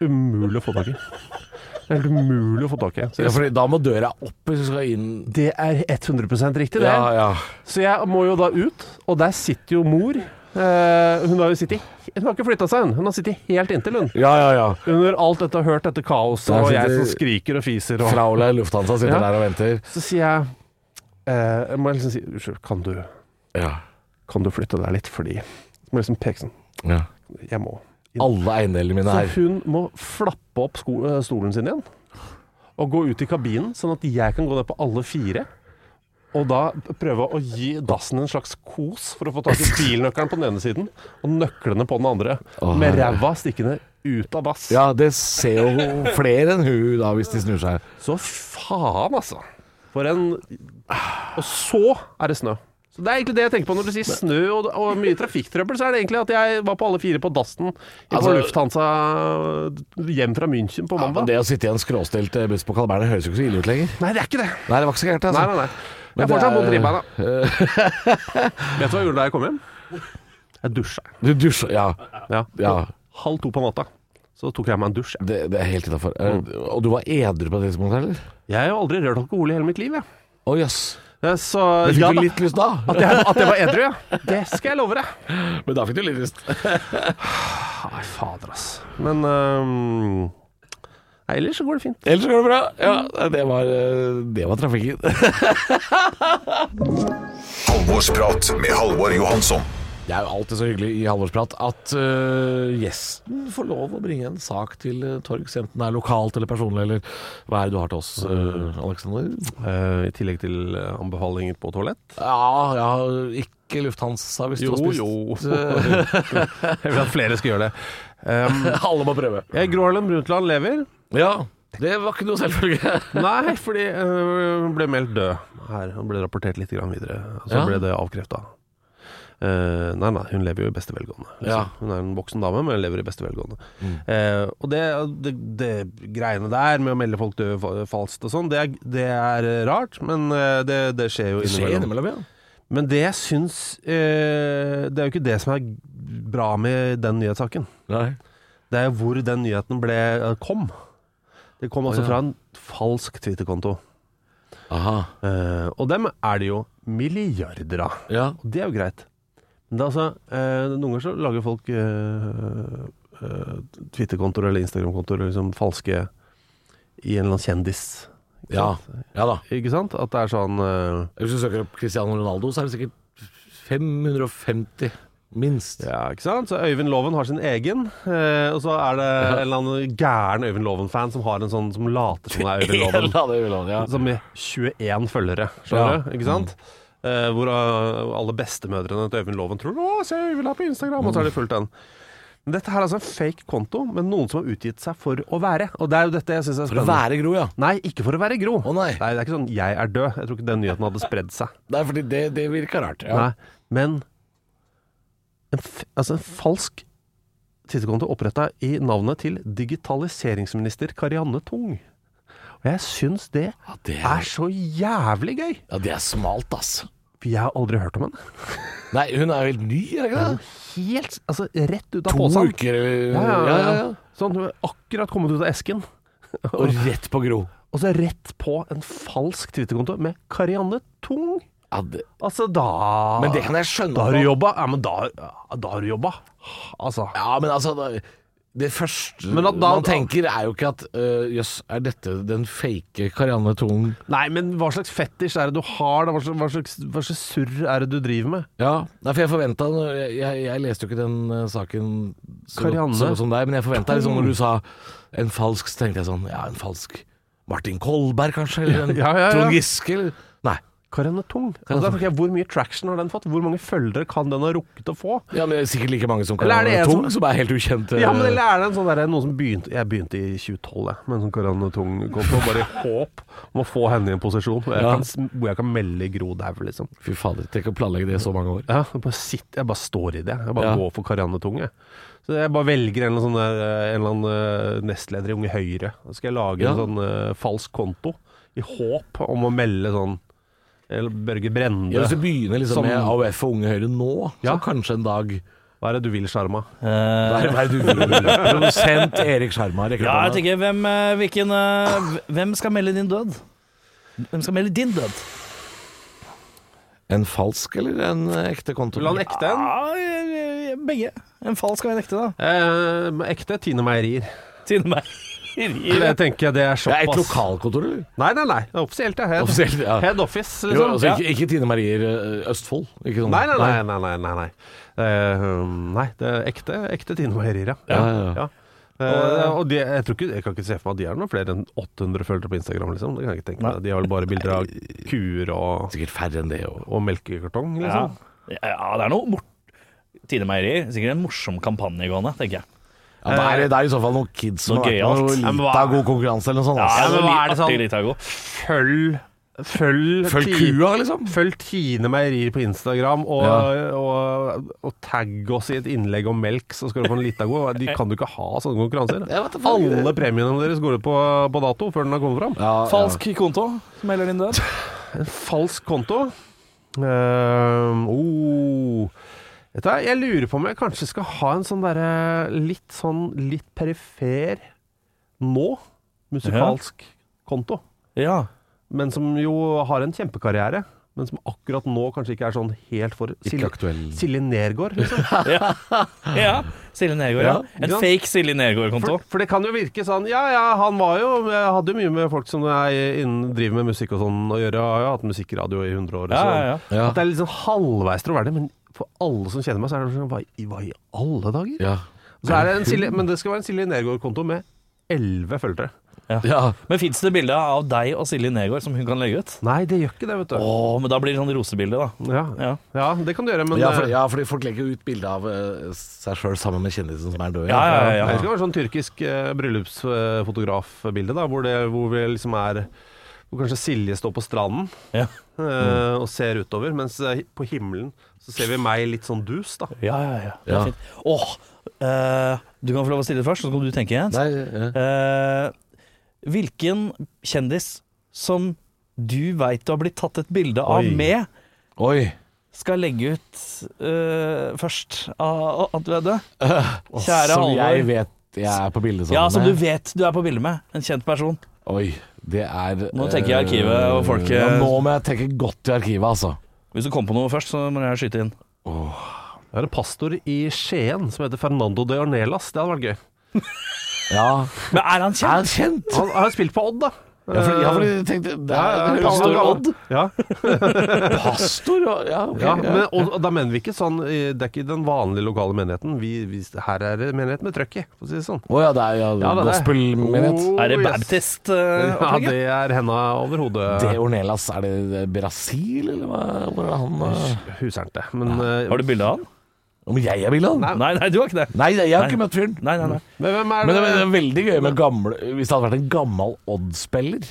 Umulig å få tak i. Det er helt umulig å få tak i. Så Ja, jeg, fordi da må døra opp hvis du skal inn det er 100 riktig, det. Ja, ja. Så jeg må jo da ut, og der sitter jo mor. Eh, hun har jo sittet Hun har ikke flytta seg, hun. Hun har sittet helt inntil, hun. Ja, ja, ja. Under alt dette og hørt dette kaoset, Der og jeg sitter- som skriker og fiser og Fraula i Lufthansa sitter Ja. der og venter. Så sier jeg eh, Jeg må liksom si Unnskyld, kan du, Ja. kan du flytte deg litt? Fordi Så må jeg liksom peke sånn ja. Jeg må. Alle eiendelene mine Så er her. hun må flappe opp sko eh, stolen sin igjen og gå ut i kabinen, sånn at jeg kan gå der på alle fire. Og da prøve å gi dassen en slags kos for å få tak i bilnøkkelen på den ene siden og nøklene på den andre. Å, med herre. ræva stikkende ut av dass. Ja, det ser jo flere enn hun da, hvis de snur seg. Så faen, altså. For en Og så er det snø. Så Det er egentlig det jeg tenker på når du sier snø og, og mye trafikktrøbbel. Så er det egentlig at jeg var på alle fire på dassen altså, på Altså- Lufthansa hjem fra München på Ja, men mandag. det å sitte i en skråstilt eh, buss på Carl Berner høres jo ikke så ille ut lenger. Nei, det er ikke det. Nei, det var ikke så gærent, altså. Nei, nei, nei. Men Jeg har fortsatt det er- vondt i ribbeina. Vet du hva jeg gjorde da jeg kom hjem? Jeg dusja. Du dusjer Ja. Ja. ja. Halv to på natta. Så tok jeg meg en dusj. jeg. Det, det er helt innafor. Og du var edru på det tidspunktet, eller? Jeg har jo aldri rørt alkohol i hele mitt liv, jeg. Å jøss. Eh, Så Men Fikk ja du da. litt lyst da? At jeg, at jeg var edru, ja. Det skal jeg love deg. Men da fikk du litt lyst. Nei, fader, ass. Men øhm, Nei, ellers så går det fint. Ellers så går det bra. Ja, det var, eh, det var trafikken. Halvorsprat med Halvor Johansson. Det er jo alltid så hyggelig i Halvorsprat at øh, gjesten får lov å bringe en sak til øh, torgs, enten det er lokalt eller personlig, eller hva er det du har til oss, øh, Alexander? Eh, I tillegg til eh, anbefalinger på toalett. Ja, ja, ikke Lufthansa hvis du har spist. jeg vil at flere skal gjøre det. Ehm, Alle må prøve. jeg, Gro Harlem Brundtland lever. Ja, det var ikke noe selvfølge. Nei, fordi eh, hun ble meldt død her. Hun ble rapportert litt grann videre. Så Ja. ble det avkrefta. Eh, nei, nei, hun lever jo i beste velgående. liksom. Ja. Hun er en voksen dame, men lever i beste velgående. Eh, og det, det, det greiene der med å melde folk døde fa- falskt og sånn, det, er- det er rart, men eh, det, det skjer jo innimellom. innimellom, ja. Men det jeg syns eh, Det er jo ikke det som er bra med den nyhetssaken. Nei. Det er jo hvor den nyheten ble, eh, kom. Det kom altså ja. fra en falsk Twitter-konto. Aha. Eh, og dem er det jo milliarder av. Ja. Og det er jo greit. Men det er altså, eh, noen ganger så lager folk eh, eh, Twitter-kontoer eller Instagram-kontoer liksom falske i en eller annen kjendis. Ikke ja. sant? Ja da. Ikke sant? At det er sånn eh, Hvis du søker opp Cristiano Ronaldo, så er det sikkert 550. Minst. Ja, ikke sant? Så Øyvind Loven har sin egen, eh, og så er det en eller annen gæren Øyvind Loven-fan som har en sånn som later som han er Øyvind Loven. Ja, det vil han, ja. Som med 21 følgere, Ja. skjønner du? Ikke sant? Eh, hvor eh, alle bestemødrene til Øyvind Loven tror 'Å, se Øyvind her på Instagram', og så har de fulgt den. Men Dette her er altså en fake konto, men noen som har utgitt seg for å være. Og det er jo dette jeg syns er For å spennende. være Gro, ja. Nei, ikke for å være Gro. Å, nei. det er ikke sånn 'jeg er død'. Jeg tror ikke den nyheten hadde spredd seg. Nei, fordi det, det virker rart. Ja. Nei, men en, f altså en falsk Twitterkonto oppretta i navnet til digitaliseringsminister Karianne Tung. Og jeg syns det Ja, det er er, så jævlig gøy! ja, det er smalt, ass. For jeg har aldri hørt om henne. Nei, hun er jo helt ny, er det ikke det? Helt, altså rett ut av To posen. uker Ja, ja, ja, ja. øh, ja. Sånn, hun er akkurat kommet ut av esken. Og rett på Gro. Og så rett på en falsk Twitterkonto med Karianne Tung. Ja, det, Altså, da men det kan jeg skjønne. Da har du at- jobba. Ja, men da, da har du jobba. Altså. Ja, men altså da- Det første Men at da- man tenker, er jo ikke at øh, jøss, er dette den fake Karianne Tung? Nei, men hva slags fetisj er det du har? Da? Hva, slags, hva, slags, hva slags surr er det du driver med? Ja, nei, for jeg forventa jeg, jeg, jeg leste jo ikke den eh, saken så Karianne. godt så godt som deg, men jeg forventa liksom når du sa en falsk, så tenkte jeg sånn Ja, en falsk Martin Kolberg, kanskje? Eller en Ja, ja, ja. Trond Giske? Eller? Nei. Karianne Tung. Karianne Altså, da tenker jeg, hvor mye traction har den fått? Hvor mange følgere kan den ha rukket å få? Ja, men det er Sikkert like mange som Eller er det Karianne en Tung, som- som er helt ukjent. eh, Ja, men eller er det en sånn der, noe som begynte Jeg begynte i 2012 jeg, med en sånn Karianne Tung-konto. Bare i håp om å få henne i en posisjon hvor jeg, Ja. kan, s- hvor jeg kan melde Gro Dau, liksom. Fy fader, tenk å planlegge det i så mange år. Ja, jeg bare, sitter, jeg bare står i det. Jeg bare Ja. går for Karianne Tung. Jeg. Så jeg bare velger en eller annen, sånn der, eh, en eller annen eh, nestleder i Unge Høyre. Så skal jeg lage Ja. en sånn eh, falsk konto i håp om å melde sånn eller Børge Brende. Ja, hvis du begynner liksom Som- med AUF og Unge Høyre nå, så Ja. kanskje en dag Hva er det du vil, Sjarma? Hva er- hva er det du vil? Produsent Erik Sjarma rekker Ja, opp jeg hånda. tenker, hvem, eh, hvilken, eh, hvem skal melde din død? Hvem skal melde din død? En falsk eller en eh, ekte konto? Vil han ekte en? Ja, eh, begge. En falsk og en ekte, da. Eh, ekte Tine Meierier. Tine meg. Jeg tenker det Det er er et såpass. lokalkontor, eller? Nei, nei, nei. Det er Offisielt, ja. Head, Offisielt, ja. head office, Jo, liksom. altså, ja. ikke, ikke Tine Marier eh, Østfold. Ikke sånn. Nei, nei, nei. nei, nei, nei, nei. Eh, um, nei, det er ekte, ekte Tine Meierier, ja. Ja, ja, ja. Eh, og de, jeg, tror ikke, jeg kan ikke se for meg at de har noe flere enn 800 følgere på Instagram. Liksom. Det kan jeg ikke tenke meg. De har vel bare bilder av kuer og, Sikkert færre enn det. Og. og melkekartong, liksom. Ja, det er noe mort... Tine Meierier. Sikkert en morsom kampanje gående, tenker jeg. Ja, det, er, det er i så fall noen kids som Eh, Noe har vært med og gøyalt. Ja, men litt hva- av god konkurranse eller noe sånt. altså. Ja, ass. men det hva er var det sånn- artig, Litago. Følg Følg, Følg Ti- kua, liksom. Følg Tine Meierier på Instagram, og, Ja. og, og tagg oss i et innlegg om melk, så skal du få en lita god. De kan jo ikke ha sånne konkurranser. Jeg vet da faen ikke det. Alle premiene deres går ut på, på dato før den har kommet fram. Ja, ja. Falsk konto som melder din død. En falsk konto. Ehm, oh. Vet du hva, jeg lurer på om jeg kanskje skal ha en sånn derre litt sånn litt perifer nå musikalsk konto. Ja. Men som jo har en kjempekarriere. Men som akkurat nå kanskje ikke er sånn helt for Ikke Silje, aktuell. Silje Nergård, liksom. ja. ja. Silje Nergård, ja. Ja. En Ja. fake Silje For, Nergård-konto. for det kan jo virke sånn Ja ja, han var jo jeg Hadde jo mye med folk som er innen, driver med musikk og sånn å gjøre. Jeg har jo hatt musikkradio i 100 år. Ja, så- ja, ja. Ja. At det er litt sånn halvveis troverdig, men for alle som kjenner meg, så er det sånn Hva i, hva i alle dager? Ja. Så er det en Silje, men det skal være en Silje Nergård-konto med elleve følgere. ja. Men fins det bilde av deg og Silje Nergård som hun kan legge ut? Nei, det gjør ikke det, vet du. Å, men da blir det sånn rosebilde, da. Ja. Ja. ja, det kan du gjøre, men ja, for, eh, ja, fordi folk legger jo ut bilde av eh, seg sjøl sammen med kjendisen som er død. Ja, ja, ja, Det ja. skal være sånn tyrkisk eh, bryllupsfotografbilde, da, hvor, det, hvor vi liksom er Hvor kanskje Silje står på stranden Ja. eh, og ser utover, mens eh, på himmelen så ser vi meg litt sånn dus, da. Ja, ja, ja. Det Ja. er fint. Åh, eh, du kan få lov å stille først, så kan du tenke. Jens. Nei, ja. Eh, hvilken kjendis som du veit du har blitt tatt et bilde av Oi. med, Oi. skal legge ut eh, først Ah, av- at du er død? Åh, Kjære som jeg Halvor. vet jeg er på bildet sammen Ja, som du med. vet du er på bilde med. En kjent person. Oi, det er Nå tenker jeg i arkivet, eh, og folk, ja, eh, Nå må jeg tenke godt i arkivet, altså. Hvis du kommer på noe først, så må jeg skyte inn. Det er en pastor i Skien som heter Fernando de Ornelas. Det hadde vært gøy. Ja. Men er han Er kjent? han kjent? Han har spilt på Odd, da. Ja, for, ja, for jeg tenkte det Ja, er ja, pastor ja. Odd. Ja, Pastor? og- Ja, ok. ja, men, og, og da mener vi ikke sånn eh, Det er ikke den vanlige lokale menigheten. Vi, vi, her er det menighet med trøkk i, for å si det sånn. Å ja, det er ja, Ja, det er det. gospelmenighet. Oh, Er det eh, yes. Ja, baptist-opplegget? det er henda over hodet. Det Ornelas, er det det er Brasil, eller hva hvor er det han eh? Husernte. Men eh, har du bilde av han? Om jeg er Villand? Nei, Nei, nei, du har ikke det. nei, jeg har Nei. ikke møtt fyren. Nei, nei, nei. men hvem er Men det? det, det er veldig gøy med gamle Hvis det hadde vært en gammel Odd-spiller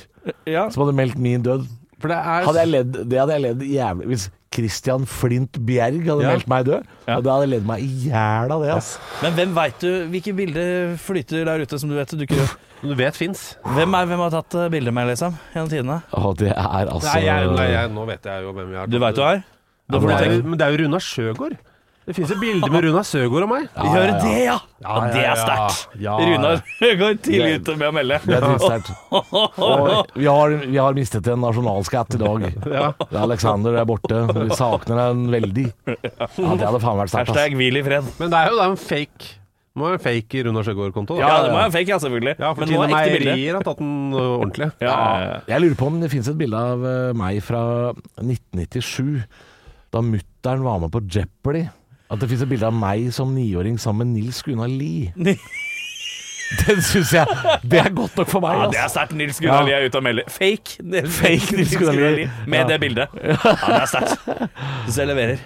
Ja. som hadde meldt min død For det er hadde jeg ledd, Det hadde jeg ledd jævlig Hvis Christian Flint Bjerg hadde Ja. meldt meg død, Ja. og det hadde jeg ledd meg i hjel av det. ass Men hvem veit du hvilke bilder flyter der ute som du vet dukker opp? Du vet fins. Hvem er hvem har tatt eh, bilder med, liksom? Gjennom tidene? Å, det er altså Nei, jeg, nei jeg, nå vet jeg jo hvem jeg er. Du veit du er? Da Ja, får du men, det er tenke. jo, men det er jo Runar Sjøgaard. Det fins et bilde med Runar Sjøgaard og meg. Vi hører det, ja! Ja, Ja, Det ja, er ja. sterkt. Ja, ja. Runar går tidlig Det- ute med å melde. Det er dritsterkt. Og Vi, har- vi har mistet en nasjonalskatt i dag. Alexander er borte. Vi savner den veldig. Ja, det hadde faen vært sterkt. ass. Hashtag hvil i fred. Men det er jo det er en fake. Det må være en fake Runar Sjøgaard-konto. da. Ja, det må jeg fake, ja, selvfølgelig. ja, for Men nå Tine er ekte bilder. Meierier har tatt den ø, ordentlig. Ja, ja, ja. Jeg lurer på om det finnes et bilde av eh, meg fra 1997, da mutter'n var med på Jeopardy. At det finnes et bilde av meg som niåring sammen med Nils Gunnar Lie. Den syns jeg Det er godt nok for meg. Ja, ass. det er sterkt. Nils Ja. Gunnar Lie er ute og melder. Fake, det- Fake Nils Gunnar Lie. med Ja. det bildet. Ja, det er sterkt. Så jeg leverer.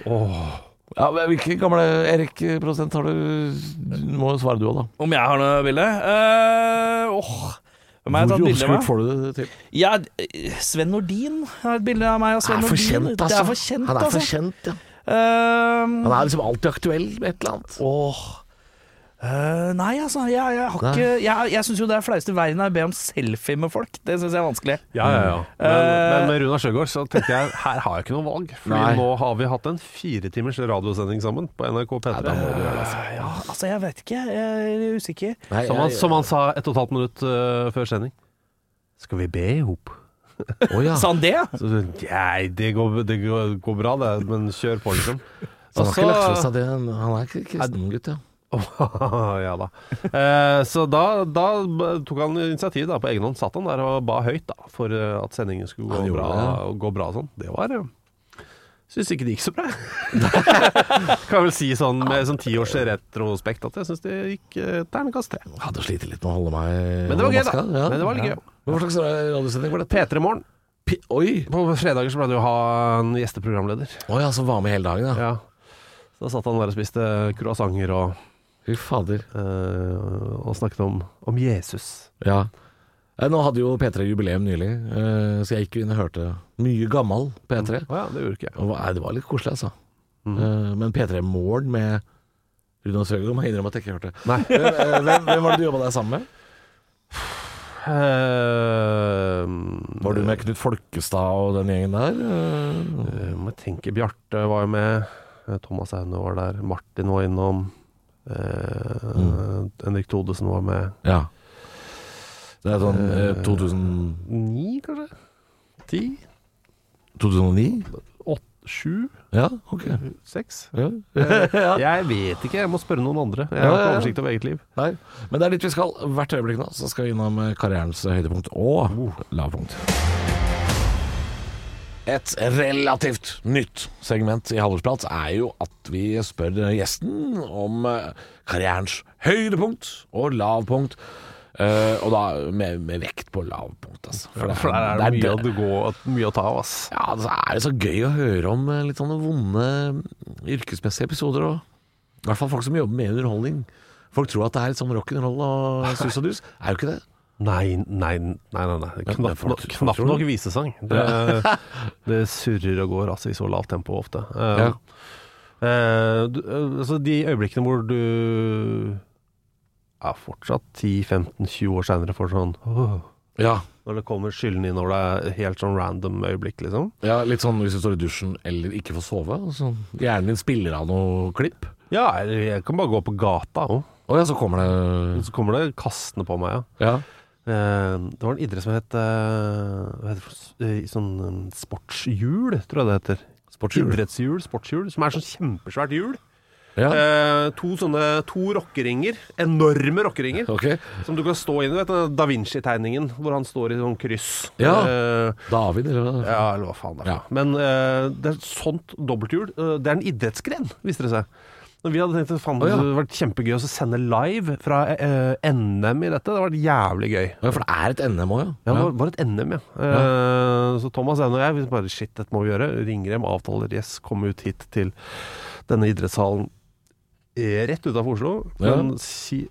Ja, men Hvilke gamle Erik eh, prosent har du? Du må jo svare du òg, da. Om jeg har noe bilde? Eh, åh. Hvem har jeg tatt Hvor bilde obskurt med? får du det til? Ja, eh, Sven Nordin har et bilde av meg og Sven Han er Nordin. for kjent, altså. Det er for kjent, Han er for altså. kjent, ja. Eh, Han er liksom alltid aktuell med et eller annet. Åh. Eh, nei, altså. Jeg, jeg, har Nei. ikke, jeg, jeg syns jo det er flaueste i verden er å be om selfie med folk. Det syns jeg er vanskelig. Ja, ja, ja. Men, Eh. men med Runar Sjøgaard så tenkte jeg her har jeg ikke noe valg. Nei. Fordi nå har vi hatt en fire timers radiosending sammen på NRK P3. Ja, altså, jeg vet ikke. Jeg er usikker. Nei, som, han, jeg- som han sa et og et halvt minutt ø, før sending. Skal vi be i hop? Å, ja. Sa han det? Så, Nei, det går, det går, går bra det, men kjør på, liksom. Så han har ikke Og så- lagt fra seg det. Han er ikke kristen gutt, ja. ja da. Eh, så da, da b- tok han initiativ da, på egen hånd. Satt han der og ba høyt da, for eh, at sendingen skulle Han gå gjorde bra. det. og Gå bra og sånn. Det var eh, Syns ikke det gikk så bra. kan vel si sånn med sånn tiårs retrospekt at jeg syns det gikk eh, terningkast tre. Jeg hadde slitt litt med å holde meg Men det var gøy, holde da. maska, Men det var litt Ja. gøy. Men Hva slags radiosending var dette? P3 Morgen. P Oi! På fredager så pleide vi å ha en gjesteprogramleder. Å ja, som var med hele dagen, ja. Ja. Så da satt han der og spiste croissanter og, Fy fader. eh, og snakket om, om Jesus. Ja. Eh, Nå hadde jo P3 jubileum nylig, eh, så jeg gikk jo inn og hørte mye gammel P3. Å ja, det gjorde ikke jeg. Og hva- nei, det var litt koselig, altså. Mm. Eh, Men P3 Morgen med Runar Søgaard må jeg innrømme at jeg ikke hørte. Nei. Hvem, eh, hvem, hvem var det du jobba der sammen med? Eh, Var du med Knut Folkestad og den gjengen der? Eh, eh, Må jeg tenke, Bjarte var jo med. eh, Thomas Aune var der. Martin var innom. eh, Mm. Henrik Thodesen var med. Ja. Det er sånn eh, 2000, Ni, kanskje? Ti? 2009? Åtte? Sju? Ja, ok. Seks? Eh, Ja. Jeg vet ikke, jeg må spørre noen andre. Jeg Ja, har ja, ikke ja. oversikt over eget liv. Nei, men det er dit vi skal hvert øyeblikk nå. Så skal vi innom eh, karrierens høydepunkt og Uh. lavpunkt. Et relativt nytt segment i Halvorsprat er jo at vi spør eh, gjesten om eh, karrierens høydepunkt og lavpunkt. Eh, og da med, med vekt på lavpunkt, altså. For der er det mye, å gå- at- mye å ta av, ass. Ja, altså, er det så gøy å høre om eh, litt sånne vonde mm, yrkesmessige episoder og I hvert fall folk som jobber med underholdning. Folk tror at det er litt sånn rock'n'roll og sus og dus. Er jo ikke det. Nei, nei, nei, nei. nei. Ja, men Knapt, folk- nok- folk knapt tror nok det. visesang. Det, det surrer og går altså, i så lavt tempo ofte. Eh, Ja. eh, du, eh, altså, de øyeblikkene hvor du er fortsatt 10-15-20 år seinere får sånn «Åh», Ja, Når det kommer skyldende inn over deg, helt sånn random øyeblikk, liksom. ja Litt sånn hvis du står i dusjen eller ikke får sove. og sånn. Hjernen din spiller av noe klipp, Ja, eller jeg kan bare gå på gata òg. og ja, så kommer det Så kommer det kastende på meg, ja. Ja, Eh, Det var en idrett som het eh, Hva heter det? for s- eh, Sånn eh, sportshjul, tror jeg det heter. sportshjul. Idrettshjul, sportshjul, som er sånn kjempesvært hjul. Ja. Eh, to sånne to rockeringer, enorme rockeringer, Ok. som du kan stå inn i. Vet du, den Da Vinci-tegningen hvor han står i sånn kryss. Ja. Eh, David, eller hva? ja, eller hva faen det er. Ja. Men eh, det er sånt dobbelthjul. eh, det er en idrettsgren, viser det seg. Når vi hadde tenkt at Å, faen, ja. det hadde vært kjempegøy å sende live fra eh, NM i dette. Det hadde vært jævlig gøy. Ja, for det er et NM òg, Ja, ja. det var- var et NM, ja. Eh, så Thomas Aune og jeg vi bare shit, dette må vi gjøre. Ringer dem, avtaler yes, kom ut hit til denne idrettshallen eh, rett utafor Oslo. Ja. Men si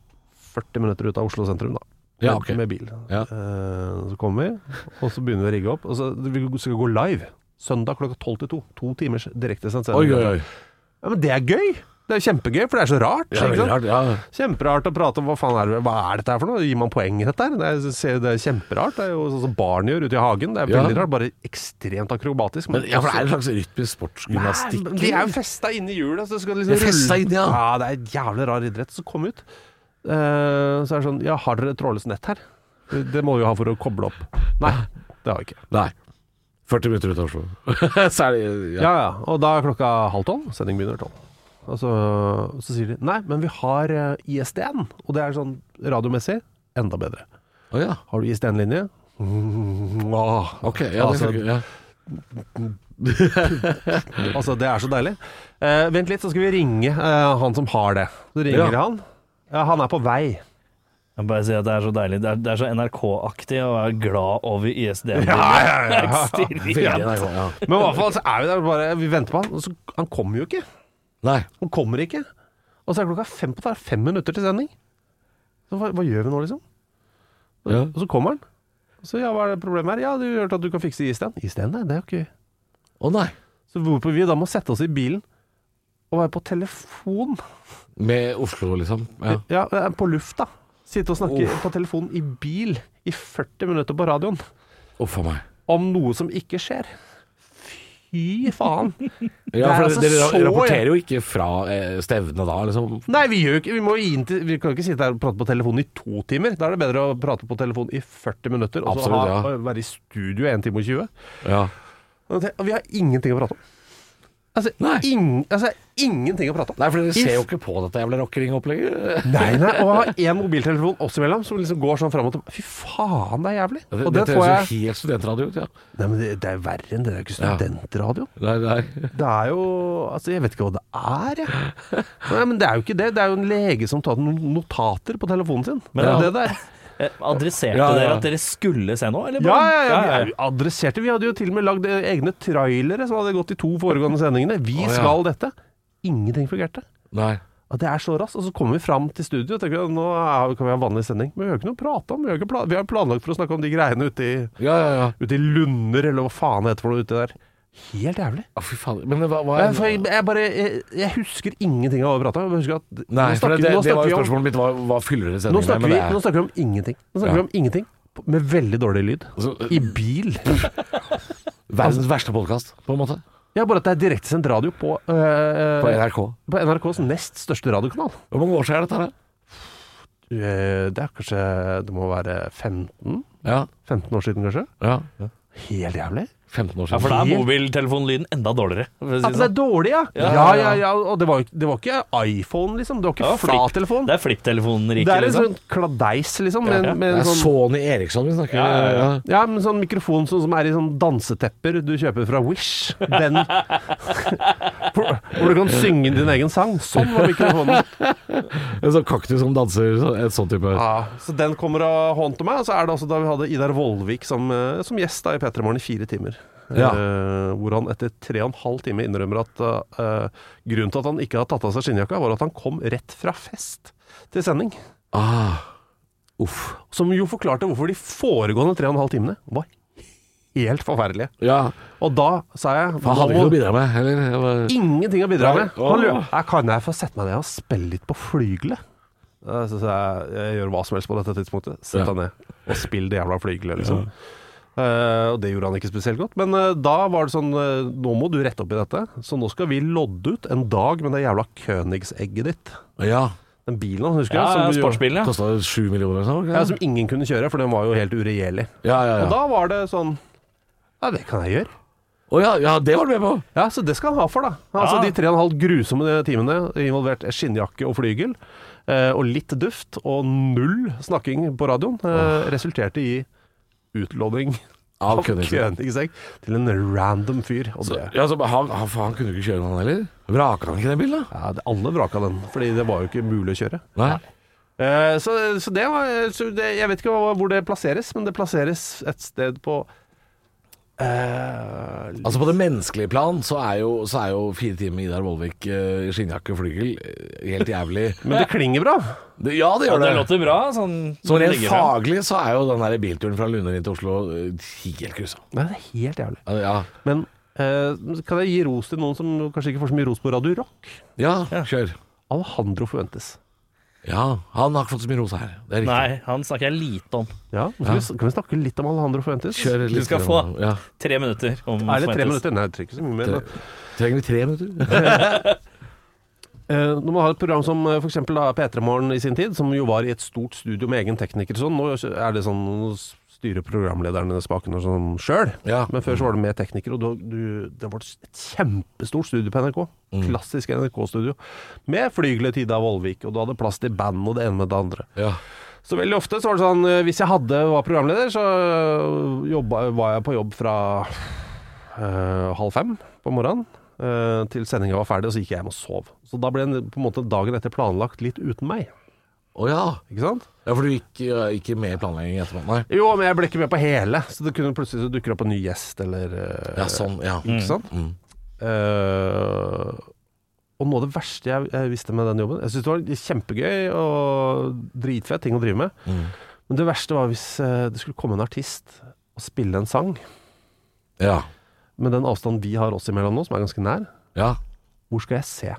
40 minutter ut av Oslo sentrum, da. Ja, Med- ok. Med bil. Ja. Eh, så kommer vi, og så begynner vi å rigge opp. Og så vi skal gå live. Søndag klokka 12 til 2. To timers direktesendt Oi, sending. oi, oi. Ja, men det er gøy! Det er jo kjempegøy, for det er så rart. Ja, ikke veldig sant? rart. Ja. Kjemperart å prate om hva faen er det, hva er dette her for noe? Gir man poeng i dette her? Det er, se- det er kjemperart. Det er jo sånn som barn gjør ute i hagen. Det er Ja. veldig rart, bare ekstremt akrobatisk. Men, ja, for det er en slags rytmisk sportsgymnastikk. Nei, men De er jo festa inni hjulet. Så det skal De liksom er festet rulle- inn, ja. ja, det er en jævlig rar idrett. Så kom ut. Eh, så er det sånn Ja, har dere et trådløst nett her? Det må vi jo ha for å koble opp. Nei, det har vi ikke. Nei. 40 minutter ut av Oslo. Så er det ja. Ja, ja. Og da er klokka halv tolv. Sending begynner tolv. Og så, så sier de nei, men vi har eh, ISDN. Og det er sånn radiomessig enda bedre. Å, ja. Har du ISDN-linje? Mm, åh. Ok, ja, det altså, funker. Ja. altså, det er så deilig. Eh, vent litt, så skal vi ringe eh, han som har det. Så ringer Ja. han. Ja, han er på vei. Jeg må bare si at det er så deilig. Det er, det er så NRK-aktig å være glad over ISDN. Veldig NRK, ja. Men i hvert fall så er vi der bare Vi venter på han. Og så, han kommer jo ikke. Nei. Han kommer ikke. Og så er klokka fem på det er fem minutter til sending. Så hva, hva gjør vi nå, liksom? Og, Ja. og så kommer han. Så ja, hva er det problemet her? Ja, du hørte at du kan fikse ISDN. ISDN, nei, det er jo ikke Å nei. Så hvorpå vi da må sette oss i bilen og være på telefon. Med Oslo, liksom. Ja. Ja, eh, på lufta. Sitte og snakke på telefon i bil i 40 minutter på radioen Uff a meg. om noe som ikke skjer. Fy faen. Ja, Det er for altså dere så- ra- rapporterer jo ikke fra eh, stevnet da, liksom. Nei, vi gjør jo ikke Vi må jo inn til Vi kan jo ikke sitte her og prate på telefon i to timer. Da er det bedre å prate på telefon i 40 minutter og så Absolutt, ha- ja. være i studio i 1 time og 20. Ja. Og det- og vi har ingenting å prate om. Altså, Nei. ing, altså ingenting å prate om. Nei, for dere I ser jo ikke på dette jævla rockeringopplegget. Nei, nei, og ha én mobiltelefon oss imellom som liksom går sånn fram og tilbake. Fy faen, det er jævlig. Det, Og det det får høres jeg jo helt studentradio ut, ja. Nei, men det, det er verre enn det. Det er jo ikke Ja. studentradio. Nei, nei. Det er jo Altså, jeg vet ikke hva det er, jeg. Nei, men det er jo ikke det. Det er jo en lege som tar noen notater på telefonen sin. Men Ja. det er det der. Adresserte Ja, ja. dere at dere skulle se noe, eller? Ja, bare- ja, ja. Vi er jo adresserte. Vi hadde jo til og med lagd eh, egne trailere som hadde gått de to foregående sendingene. Vi Å, ja. skal dette. Ingenting fungerte. nei. Og det er så raskt. Og så kommer vi fram til studio og tenker at nå er, kan vi ha vanlig sending. Men vi har jo ikke noe å prate om. Vi har, ikke pla vi har planlagt for å snakke om de greiene ute i, Ja, ja, ja. ute i lunder, eller hva faen det heter for noe ute der. Helt jævlig. Å, fy faen. Men hva, hva Jeg, for jeg, jeg bare jeg, jeg husker ingenting av hva vi prata om. Jeg husker at- Nei, nå for snakker, det, det, nå det var jo snakker vi om, spørsmålet mitt. Hva, hva fyller dere nå sendingen snakker, med? vi, Men det er- nå snakker vi om ingenting. Nå snakker Ja. vi om ingenting på- med veldig dårlig lyd. Altså, I bil. verdens verste podkast, på en måte. Ja, bare at det er direktesendt radio på, øh, På NRK. på NRKs nest største radiokanal. Hvor mange år siden er dette her? Eh, Det er kanskje Det må være 15? Ja. 15 år siden, kanskje? ja. Helt jævlig. 15 år Ja, siden. for da er mobiltelefonlyden enda dårligere. for å si At det det sånn. er dårlig, ja! Ja, Ja, ja, ja, ja. Og det var, jo ikke- det var ikke iPhone, liksom. Det var Ja, ikke flip. flattelefon. Det er flipptelefonriket, Det er en liksom. sånn kladeis, liksom. Med, Ja, en- med Det en er sånn Sony Eriksson vi snakker Ja, ja, ja. Ja, men sånn mikrofon som, som er i sånn dansetepper du kjøper fra Wish. Den Hvor hvor du kan synge din egen sang. Sånn var mikrofonen. En sånn kaktus som danser, så- en sånn type. Ah. Ja, så den kommer og håndter meg. Og så er det også da vi hadde Idar Vollvik som, eh, som gjest da i P3 Morgen i fire timer. Ja. Eh, hvor han etter tre og en halv time innrømmer at eh, grunnen til at han ikke har tatt av seg skinnjakka, var at han kom rett fra fest til sending. Ah. Uff. Som jo forklarte hvorfor de foregående tre og en halv timene var helt forferdelige. Ja, Og da sa jeg for han hadde ikke noe å bidra med, eller? Jeg var- Ingenting å bidra med. Nei. Han lurer Åh. «Nei, Kan jeg få sette meg ned og spille litt på flygelet? Da synes jeg jeg gjør hva som helst på dette tidspunktet. Sett Ja. deg ned og spill det jævla flygelet, liksom. Eh, og det gjorde han ikke spesielt godt. Men eh, da var det sånn eh, Nå må du rette opp i dette, så nå skal vi lodde ut en dag med det jævla Königsegget ditt. Ja. Den bilen hans, husker Ja, ja, du? du- sportsbilen, ja. Kosta det sju millioner eller noe? ja, sånt, som ingen kunne kjøre, for den var jo helt uregjerlig. Ja, ja, ja. Og da var det sånn Ja, det kan jeg gjøre. Å ja, ja, det var du med på! Ja, så det skal han ha for, da. Altså Ja. De tre og en halv grusomme timene involvert skinnjakke og flygel, eh, og litt duft, og null snakking på radioen, eh, resulterte i utlodding Av av Kønningsen. Kønigsegg til en random fyr. Og Så, det, ja, så han, han, for han kunne ikke kjøre noen heller? Vraka han ikke den bilen, da? ja, det, alle vraka den, fordi det var jo ikke mulig å kjøre. Nei. Eh, så, så det var så det, Jeg vet ikke hva, hvor det plasseres, men det plasseres et sted på eh, Altså På det menneskelige plan så er jo, så er jo fire timer med Idar Vollvik eh, i skinnjakke og flygel eh, helt jævlig. Men det klinger bra. Det- Ja, det Ja, gjør det det. låter bra. Sånn, Så rent legger frem. faglig så er jo den der bilturen fra Lunde inn til Oslo eh, helt grusom. Nei, det er helt jævlig. Ja, Ja, Men eh, kan jeg gi ros til noen som kanskje ikke får så mye ros på Radio Rock? ja, kjør. Alejandro Fuentes. Ja, han har ikke fått så mye ros her. Det er riktig. Nei, han snakker jeg lite om. Ja, Kan, vi, kan vi snakke litt om Alejandro Fuentes? Kjør litt. skal grann. få. Ja. Tre minutter. Om Er det tre Fuentes. minutter? Nei, det trenger ikke så mye mer. da. Trenger vi tre minutter? Eh, når man har et program som eh, for eksempel da P3 Morgen i sin tid, som jo var i et stort studio med egen tekniker og sånn, nå er det sånn nå styrer programlederne spaken og sånn sjøl. Ja. Men før så var det med tekniker, og da, du, det var et kjempestort studio på NRK. Klassisk NRK-studio. Med flygelet Tida Vollvik, og du hadde plass til band og det ene med det andre. Ja. Så veldig ofte så var det sånn eh, Hvis jeg hadde var programleder, så øh, jobba, var jeg på jobb fra øh, halv fem på morgenen øh, til sendinga var ferdig, og så gikk jeg hjem og sov. Så da ble den på en måte dagen etter planlagt litt uten meg. Å ja. Ikke sant? ja, for du gikk eh, ikke med i planleggingen etterpå? Nei. Jo, men jeg ble ikke med på hele, så det kunne plutselig så dukker det opp en ny gjest eller øh, Ja, sånn. Ja. Ikke sant? Mm. Eh, og noe av det verste jeg, jeg visste med den jobben Jeg syntes det var kjempegøy og dritfett ting å drive med. Mm. Men det verste var hvis eh, det skulle komme en artist og spille en sang Ja. med den avstanden vi har oss imellom nå, som er ganske nær. Ja. Hvor skal jeg se? Ja,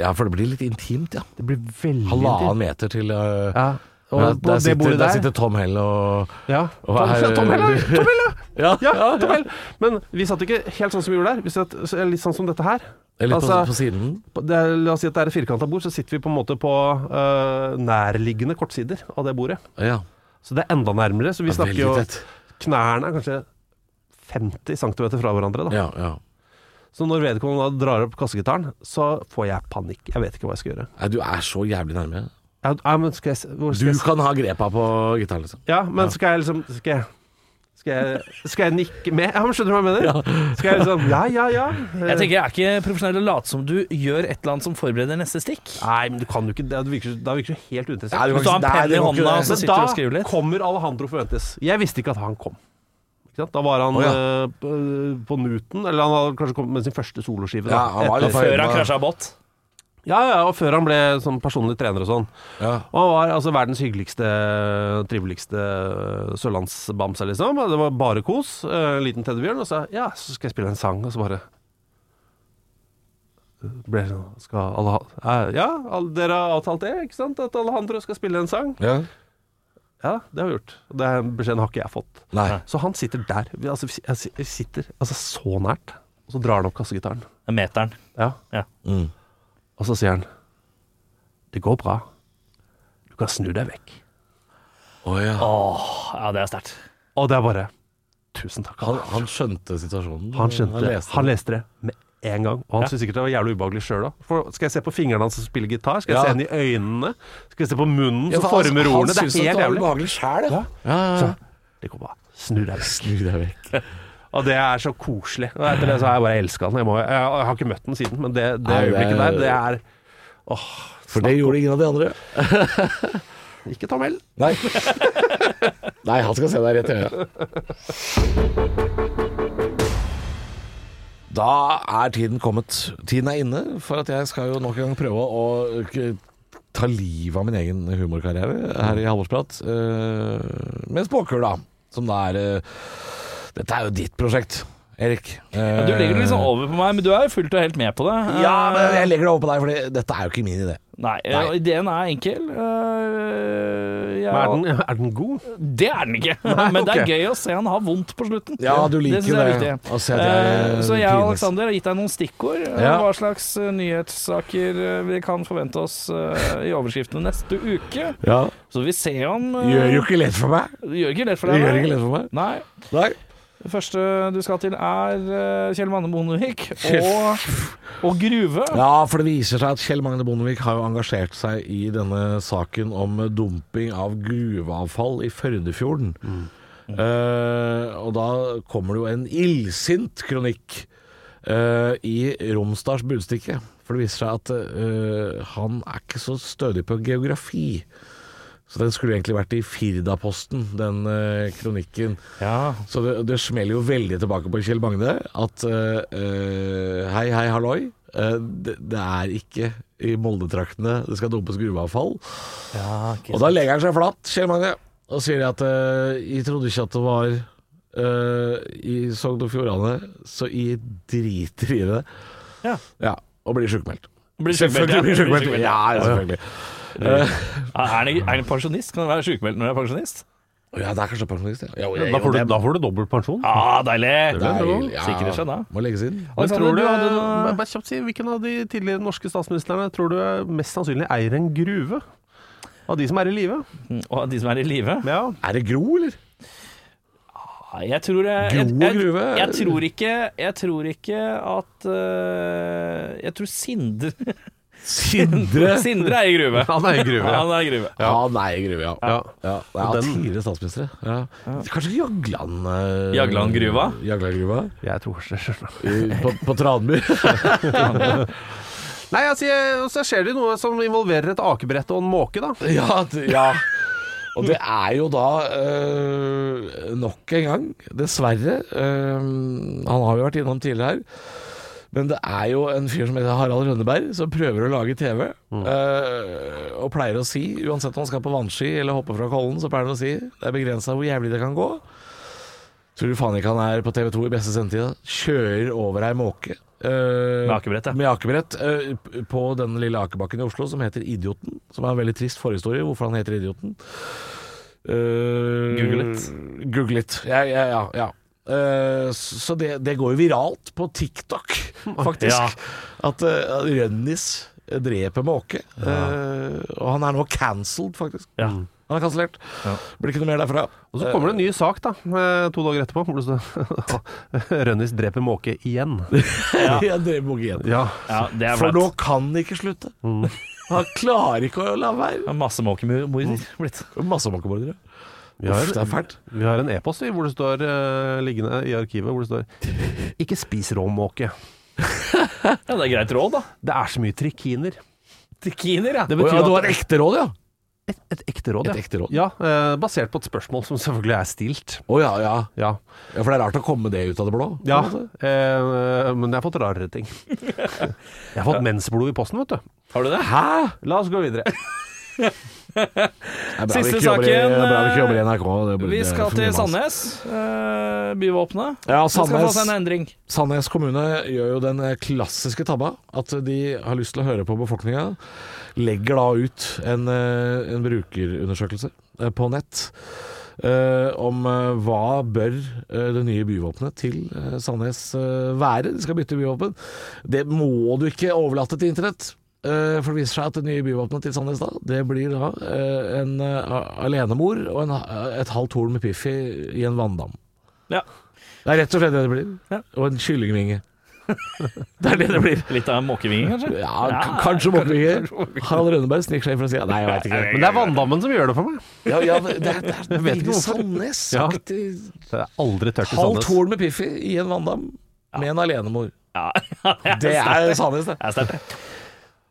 Ja, for det blir litt intimt, ja. Det blir veldig Halvannen meter til eh, Ja. Og ja, på der, det sitter, bordet der der sitter Tom Hell og ja. og Tom, her- Tom Helle! Tom Helle! Ja, Ja, Tom Helle! Men vi satt ikke helt sånn som vi gjorde der. Vi satt så- litt sånn som dette her. Eller litt Altså- på, på siden. På- Det er, la oss si at det er et firkanta bord, så sitter vi på en måte på eh, nærliggende kortsider av det bordet. Ja. Så det er enda nærmere. Så vi Ja, snakker veldig jo tett. Knærne er kanskje 50 cm fra hverandre. da Ja, ja. Så når vedkommende da drar opp kassegitaren, så får jeg panikk. Jeg vet ikke hva jeg skal gjøre. Nei, du er så jævlig nærme. Jeg, ja, men skal jeg, s- hvor Du skal jeg, s- kan ha grepa på gitaren, liksom. ja, men skal jeg liksom Skal jeg skal jeg, skal jeg nikke med? Ja, men Skjønner du hva jeg mener? Skal jeg liksom Ja, ja, ja. Jeg tenker jeg er ikke profesjonell og late som du gjør et eller annet som forbereder neste stikk. Nei, men du kan jo ikke det. virker, så- da virker du helt uinteressert. Nei, du kan Hvis du har en Nei, penn det i går ikke hånda, det. så Men sitter du og skriver da litt. kommer Alejandro Fuentes. Jeg visste ikke at han kom. Ikke sant? Da var han Å, eh, på, på Newton, eller han hadde kanskje kommet med sin første Ja, soloskive. da. han var Etter- litt for- Før han krasja båt. ja, ja, og før han ble sånn personlig trener og sånn. Ja. Og han var altså verdens hyggeligste, triveligste sørlandsbamse, liksom. Og Det var bare kos. eh, En liten teddybjørn. Og så ja, så skal jeg spille en sang, og så bare ble det sånn Skal alle ha eh, Ja, alle- dere har avtalt det, ikke sant? At Alejandro skal spille en sang? ja. Ja, det har vi gjort. Og Den beskjeden har ikke jeg fått. Nei. Så han sitter der. Vi- Altså, vi- jeg si- jeg sitter altså så nært, og så drar han opp kassegitaren. Meteren. Ja. Mm. Og så sier han Det går bra. Du kan snu deg vekk. Å, ja. Ah. Ja, det er sterkt. Og det er bare Tusen takk. Han, han skjønte situasjonen. Han skjønte det. leste Han leste det med en gang. Og han Ja. syntes sikkert det var jævlig ubehagelig sjøl òg. Skal jeg se på fingrene hans som spiller gitar? Skal jeg Ja. se henne i øynene? Skal jeg se på munnen Ja, som for han- former han ordene? Det syntes at er helt var jævlig. ubehagelig sjæl, ja. Ja, ja. Så, det går bra. Snu deg vekk. Snu deg vekk. Og det er så koselig. Og etter det så har jeg bare elska den. Jeg, må, jeg, jeg har ikke møtt den siden, men det, det Nei, det er- øyeblikket der, det er For det gjorde ingen av de andre. Ikke Tom L. Nei. Nei, han skal se deg rett i øyet. Da er tiden kommet. Tiden er inne for at jeg skal jo nok en gang prøve å k- ta livet av min egen humorkarriere her i Halvorsprat. eh, med spåkula, som da er eh, Dette er jo ditt prosjekt, Erik. Ja, du legger det litt sånn Eh, over på meg, men du er jo fullt og helt med på det. Ja, men jeg Eh, legger det over på deg, for dette er jo ikke min idé. Nei, eh, Nei. ideen er enkel. Eh, jeg- Men er den, er den god? Det er den ikke, men det er gøy å se han har vondt på slutten. Ja, du liker det. Synes jeg det, er viktig. å se at jeg Eh, så jeg og pines. Aleksander har gitt deg noen stikkord. eh, Ja. Hva slags eh, nyhetssaker eh, vi kan forvente oss eh, i overskriftene neste uke. Så vi ser om eh, Gjør jo ikke lett for meg. det gjør ikke lett for Det deg. gjør nei. ikke lett for meg. Nei. Nei. Eh, Det første du skal til, er eh, Kjell Manne Bondevik og, og Gruve. Ja, for det viser seg at Kjell Magne Bondevik har jo engasjert seg i denne saken om dumping av gruveavfall i Førdefjorden. Eh, og da kommer det jo en illsint kronikk eh, i Romsdals Budstikke. For det viser seg at eh, han er ikke så stødig på geografi. Så den skulle egentlig vært i Firdaposten, den eh, kronikken. Ja. Så det, det smeller jo veldig tilbake på Kjell Magne at eh, eh, hei, hei, halloi. eh, det, det er ikke i Moldetraktene det skal dumpes gruveavfall. og da legger han seg flatt, Kjell Magne, og sier at eh, jeg trodde ikke at det var eh, i Sogn og Fjordane, så jeg driter i det. Ja. og blir sjukmeldt. Blir Selvfølgelig blir sjukmeldt. sjukmeldt, Ja, ja, selvfølgelig. Eh, Ja, Er han ikke- er han pensjonist? Kan han være sjukmeldt når han er pensjonist? Ja, det er kanskje pensjonist, ja. Jo, Da jo, får du, det- da får du dobbelt pensjon. Ja, Ah, deilig! det er jo- ja, Sikrer seg da. Må legges inn. Men Alexander, tror du, du hadde noe- Bare- bare kjapt si, Hvilken av de tidligere norske statsministrene tror du er mest sannsynlig eier en gruve? Av de som er i live? Og de som er i live? Ja. Er det Gro, eller? Nei, Jeg tror jeg, jeg, Gro jeg, Gruve? jeg tror ikke Jeg tror ikke at øh, Jeg tror Sindre Sindre Sindre er i gruve. Han eier en gruve. Ja, Ja. han er i gruve. Ja, nei, Gruve, ja. Ja. ja. ja Og den- tidligere statsministre. Ja. Kanskje Jagland eh, Jaglandgruva? Jaglandgruva Jeg tror kanskje det skjønner. I- på, på Tranby. Nei, altså, jeg, og så skjer det noe som involverer et akebrett og en måke, da. ja, d- ja. Og det er jo da eh, nok en gang, dessverre eh, Han har jo vært innom tidligere her. Men det er jo en fyr som heter Harald Rønneberg, som prøver å lage TV. eh, og pleier å si, uansett om han skal på vannski eller hoppe fra kollen, så pleier han å si det er begrensa hvor jævlig det kan gå. Tror du faen ikke han er på TV 2 i beste sendetid? da? Kjører over ei måke. eh, Med akebrett, ja. Med akebrett eh, p- på denne lille akebakken i Oslo som heter Idioten. Som er en veldig trist forhistorie, hvorfor han heter Idioten. Eh, Google litt. Google litt. Ja, ja, ja. ja. Eh, s- så det, det går jo viralt på TikTok, faktisk. Ja. At eh, Rønnis dreper måke. Eh, og han er nå cancelled, faktisk. Ja. Han er kansellert. Ja. Blir ikke noe mer derfra. Og så kommer det en ny sak, da, eh, to dager etterpå, hvor det står Rønnis dreper måke igjen. Ja. Jeg drev måke igjen. Ja. ja det er For nå flaut. kan det ikke slutte. Han klarer ikke å la være. Det er Masse måkemorder Mm. blitt. Masse måkemordere. Vi har, Uff, det er fælt. vi har en e-post vi, hvor det står eh, liggende i arkivet hvor det står Ikke spis rå måke. Ja, det er greit råd, da. Det er så mye trikiner. Trikiner, ja. Det Å ja, betyr det at var et ekte råd, ja? et, et ekte råd, Et ja. ekte råd. ja eh, basert på et spørsmål som selvfølgelig er stilt. Å ja, ja. Ja. ja, for det er rart å komme det ut av det blå. på en ja måte. eh, men jeg har fått rarere ting. Jeg har fått mensblod i posten, vet du. Har du det? Hæ? La oss gå videre. Det er bra vi Siste ikke jobber i- saken, det er bra vi ikke jobber i NRK. det burde- Vi det er skal for mye mas. til Sandnes. eh, Byvåpenet. Ja, Det skal få Sandnes, seg en endring. Sandnes kommune gjør jo den eh, klassiske tabba at de har lyst til å høre på befolkninga. Legger da ut en, eh, en brukerundersøkelse eh, på nett eh, om eh, hva bør eh, det nye byvåpenet til eh, Sandnes eh, være. De skal bytte byvåpen. Det må du ikke overlate til internett. Eh, For det viser seg at det nye byvåpenet til Sandnes da, det blir da eh, en eh, alenemor og en, ha- et halvt horn med Piffi i en vanndam. Ja. Det er rett og slett det det blir. Ja. Og en kyllingvinge. det er det det blir. Litt av en måkevinging, kanskje? Ja, k- kanskje måkevinge. Harald Rønneberg sniker seg inn fra sida. Nei, jeg veit ikke. Men det er vanndammen som gjør det for meg. Ja, ja, det er, det er Jeg vet ikke veldig hvorfor. Sandnes-aktig. Det er aldri tørt i Halvt Sandnes. horn med Piffi i en vanndam med en alenemor. Ja. Det er Sandnes, det. Det er sterkt.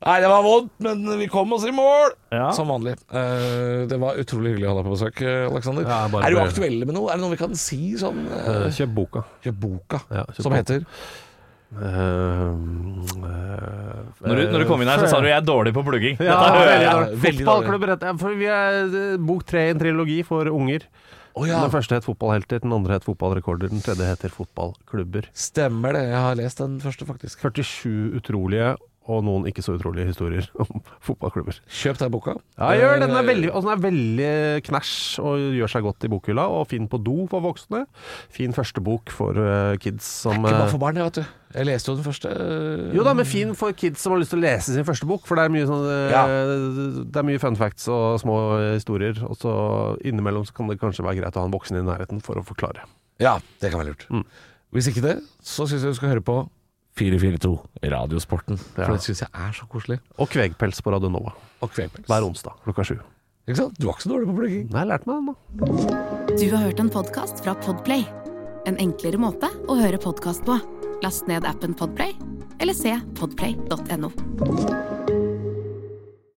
Nei, det var vondt, men vi kom oss i mål! Ja. Som vanlig. Eh, det var utrolig hyggelig å ha deg på besøk, eh, Alexander. Ja, bare- er du aktuell med noe? Er det noe vi kan si sånn? Eh, eh, Kjøp boka. Kjøp boka, Ja, kjøp som boka. Eh, heter Når, du, når du kom inn her, så sa du jeg er dårlig på plugging. ja, Dette hører jeg. veldig jeg. dårlig. Veldig dårlig. Fotballklubb rett- ja, for Vi er eh, bok tre i en trilogi for unger. Å ja, Den første het Fotballhelter, den andre het Fotballrekorder, den tredje heter Fotballklubber. stemmer det. Jeg har lest den første, faktisk. 47 utrolige og noen ikke så utrolige historier om fotballklubber. Eh, Kjøp den boka. Eh, Ja, gjør det. Den er veldig, og den er veldig knæsj og gjør seg godt i bokhylla. Og fin på do for voksne. Fin førstebok for eh, kids som Ikke bare eh, for barn, jeg, vet du. Jeg leste jo den første. eh, Jo da, men fin for kids som har lyst til å lese sin første bok, for det er mye, sånn, eh, Ja. det er mye fun facts eh, og små historier. Og så innimellom så kan det kanskje være greit å ha en voksen i nærheten for å forklare. Ja, det kan være lurt. Mm. Hvis ikke det, så syns jeg du skal høre på 442 Radiosporten. Ja. For det syns jeg er så koselig. Og kvegpels på Radio Nova Og Kvepels. hver onsdag klokka sju. Ikke sant? Du var ikke så dårlig på plugging. Nei, jeg lærte meg den, da. Du har hørt en podcast fra Podplay. En enklere måte å høre podcast på. Last ned appen Podplay, eller se podplay.no.